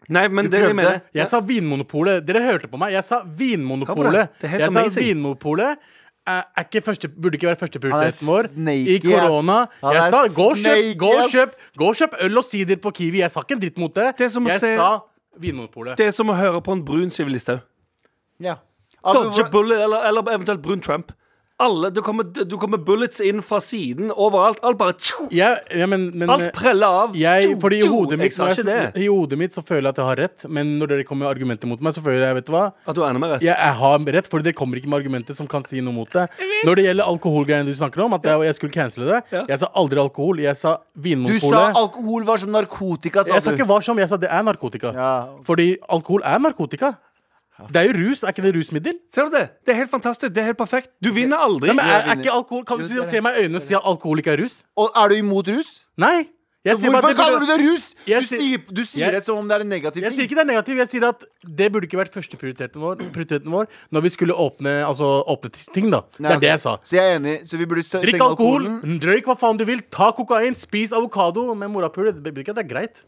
Speaker 2: Nei, men det
Speaker 3: prøvde.
Speaker 2: jeg mener
Speaker 4: Jeg sa Vinmonopolet. Dere hørte på meg. Jeg sa
Speaker 2: Hør på
Speaker 4: Vinmonopolet.
Speaker 2: det. Det er helt
Speaker 4: Jeg sa
Speaker 2: amazing.
Speaker 4: Vinmonopolet. Er er ikke første, burde ikke være førsteprioriteten
Speaker 3: Han er
Speaker 4: vår
Speaker 3: snake,
Speaker 4: i korona.
Speaker 3: ass. Han
Speaker 4: Jeg
Speaker 3: er
Speaker 4: sa gå og kjøp,
Speaker 3: snake,
Speaker 4: gå og
Speaker 3: ass.
Speaker 4: kjøp, gå og kjøp øl og sider på Kiwi. Jeg sa ikke en dritt mot det.
Speaker 2: Det er som å
Speaker 4: jeg
Speaker 2: se-
Speaker 4: sa Vinmonopolet.
Speaker 2: Det er som å høre på en brun Sylvi Listhaug.
Speaker 3: Ja. Abu,
Speaker 2: Dodge
Speaker 3: hvor-
Speaker 2: bullet eller, eller eventuelt brun Trump. Alle, det kommer, det kommer bullets inn fra siden overalt. Alt bare tjo,
Speaker 4: Ja, ja, men, men eh,
Speaker 2: Alt preller av.
Speaker 4: jeg,
Speaker 2: Tjo,
Speaker 4: fordi i
Speaker 2: tjo.
Speaker 4: hodet, mitt,
Speaker 2: Jeg sa
Speaker 4: når
Speaker 2: ikke det.
Speaker 4: jeg, I hodet mitt så føler jeg at jeg har rett, men når dere kommer med argumenter mot meg, så føler jeg vet du hva?
Speaker 2: At du er enig med rett.
Speaker 4: Jeg, jeg har rett, fordi dere kommer ikke med argumenter som kan si noe mot det. Når det gjelder alkoholgreiene du snakker om, at jeg, jeg skulle cancele det
Speaker 2: Ja.
Speaker 4: Jeg sa aldri alkohol, jeg sa
Speaker 3: Du sa
Speaker 4: vinmonopolet.
Speaker 3: alkohol var som narkotika, sa
Speaker 4: eh? Jeg sa
Speaker 3: du.
Speaker 4: ikke hva som, jeg sa det er narkotika.
Speaker 3: Ja.
Speaker 4: Fordi alkohol er narkotika. Det er jo rus, er ikke det rusmiddel?
Speaker 2: Ser du det? Det er helt fantastisk. Det er helt perfekt. Du vinner aldri.
Speaker 4: Nei, men er, er
Speaker 3: vinner.
Speaker 4: ikke alkohol Kan du si- se meg i øynene og si at alkohol ikke er rus?
Speaker 3: Og er du imot rus?
Speaker 4: Nei! Jeg sier bare
Speaker 3: Hvorfor
Speaker 4: at burde-
Speaker 3: kaller du det rus? Du
Speaker 4: Jeg sier-
Speaker 3: sier, du sier
Speaker 4: jeg-
Speaker 3: det som om det er en negativ
Speaker 4: Jeg sier
Speaker 3: ting.
Speaker 4: ikke det er negativt. Jeg sier at det burde ikke vært førsteprioriteten vår, prioriteten vår når vi skulle åpne, altså, åpne ting, da. det
Speaker 3: Nei,
Speaker 4: er det jeg sa.
Speaker 3: Så jeg er enig. Så vi burde stø-
Speaker 4: Drikk
Speaker 3: stenge
Speaker 4: alkohol,
Speaker 3: alkoholen.
Speaker 4: røyk hva faen du vil, ta kokain, spis avokado med morapuler. Det betyr ikke at det er greit.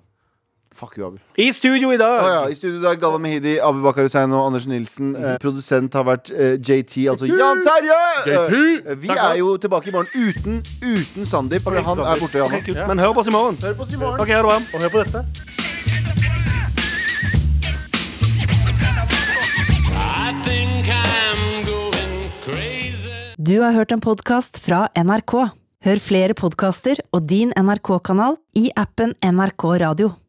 Speaker 3: Fuck you, Abu.
Speaker 2: I studio i dag.
Speaker 3: Å ja, I studio i dag Galva Mehidi, Abu Bakar Hussein og Anders Nilsen. Eh, produsent har vært eh, JT, altså Jan Terje!
Speaker 4: JT!
Speaker 3: Eh, vi
Speaker 4: Takk,
Speaker 3: er
Speaker 4: ass.
Speaker 3: jo tilbake i morgen uten, uten Sandeep, for han er
Speaker 4: Sandeep.
Speaker 3: borte.
Speaker 2: Ok,
Speaker 3: Han.
Speaker 2: kult. Men hør på oss i morgen.
Speaker 3: Hør på oss i morgen.
Speaker 2: OK, ha det bra.
Speaker 4: Og hør på dette.
Speaker 8: Du har hørt en podkast fra NRK. Hør flere podkaster og din NRK-kanal i appen NRK Radio.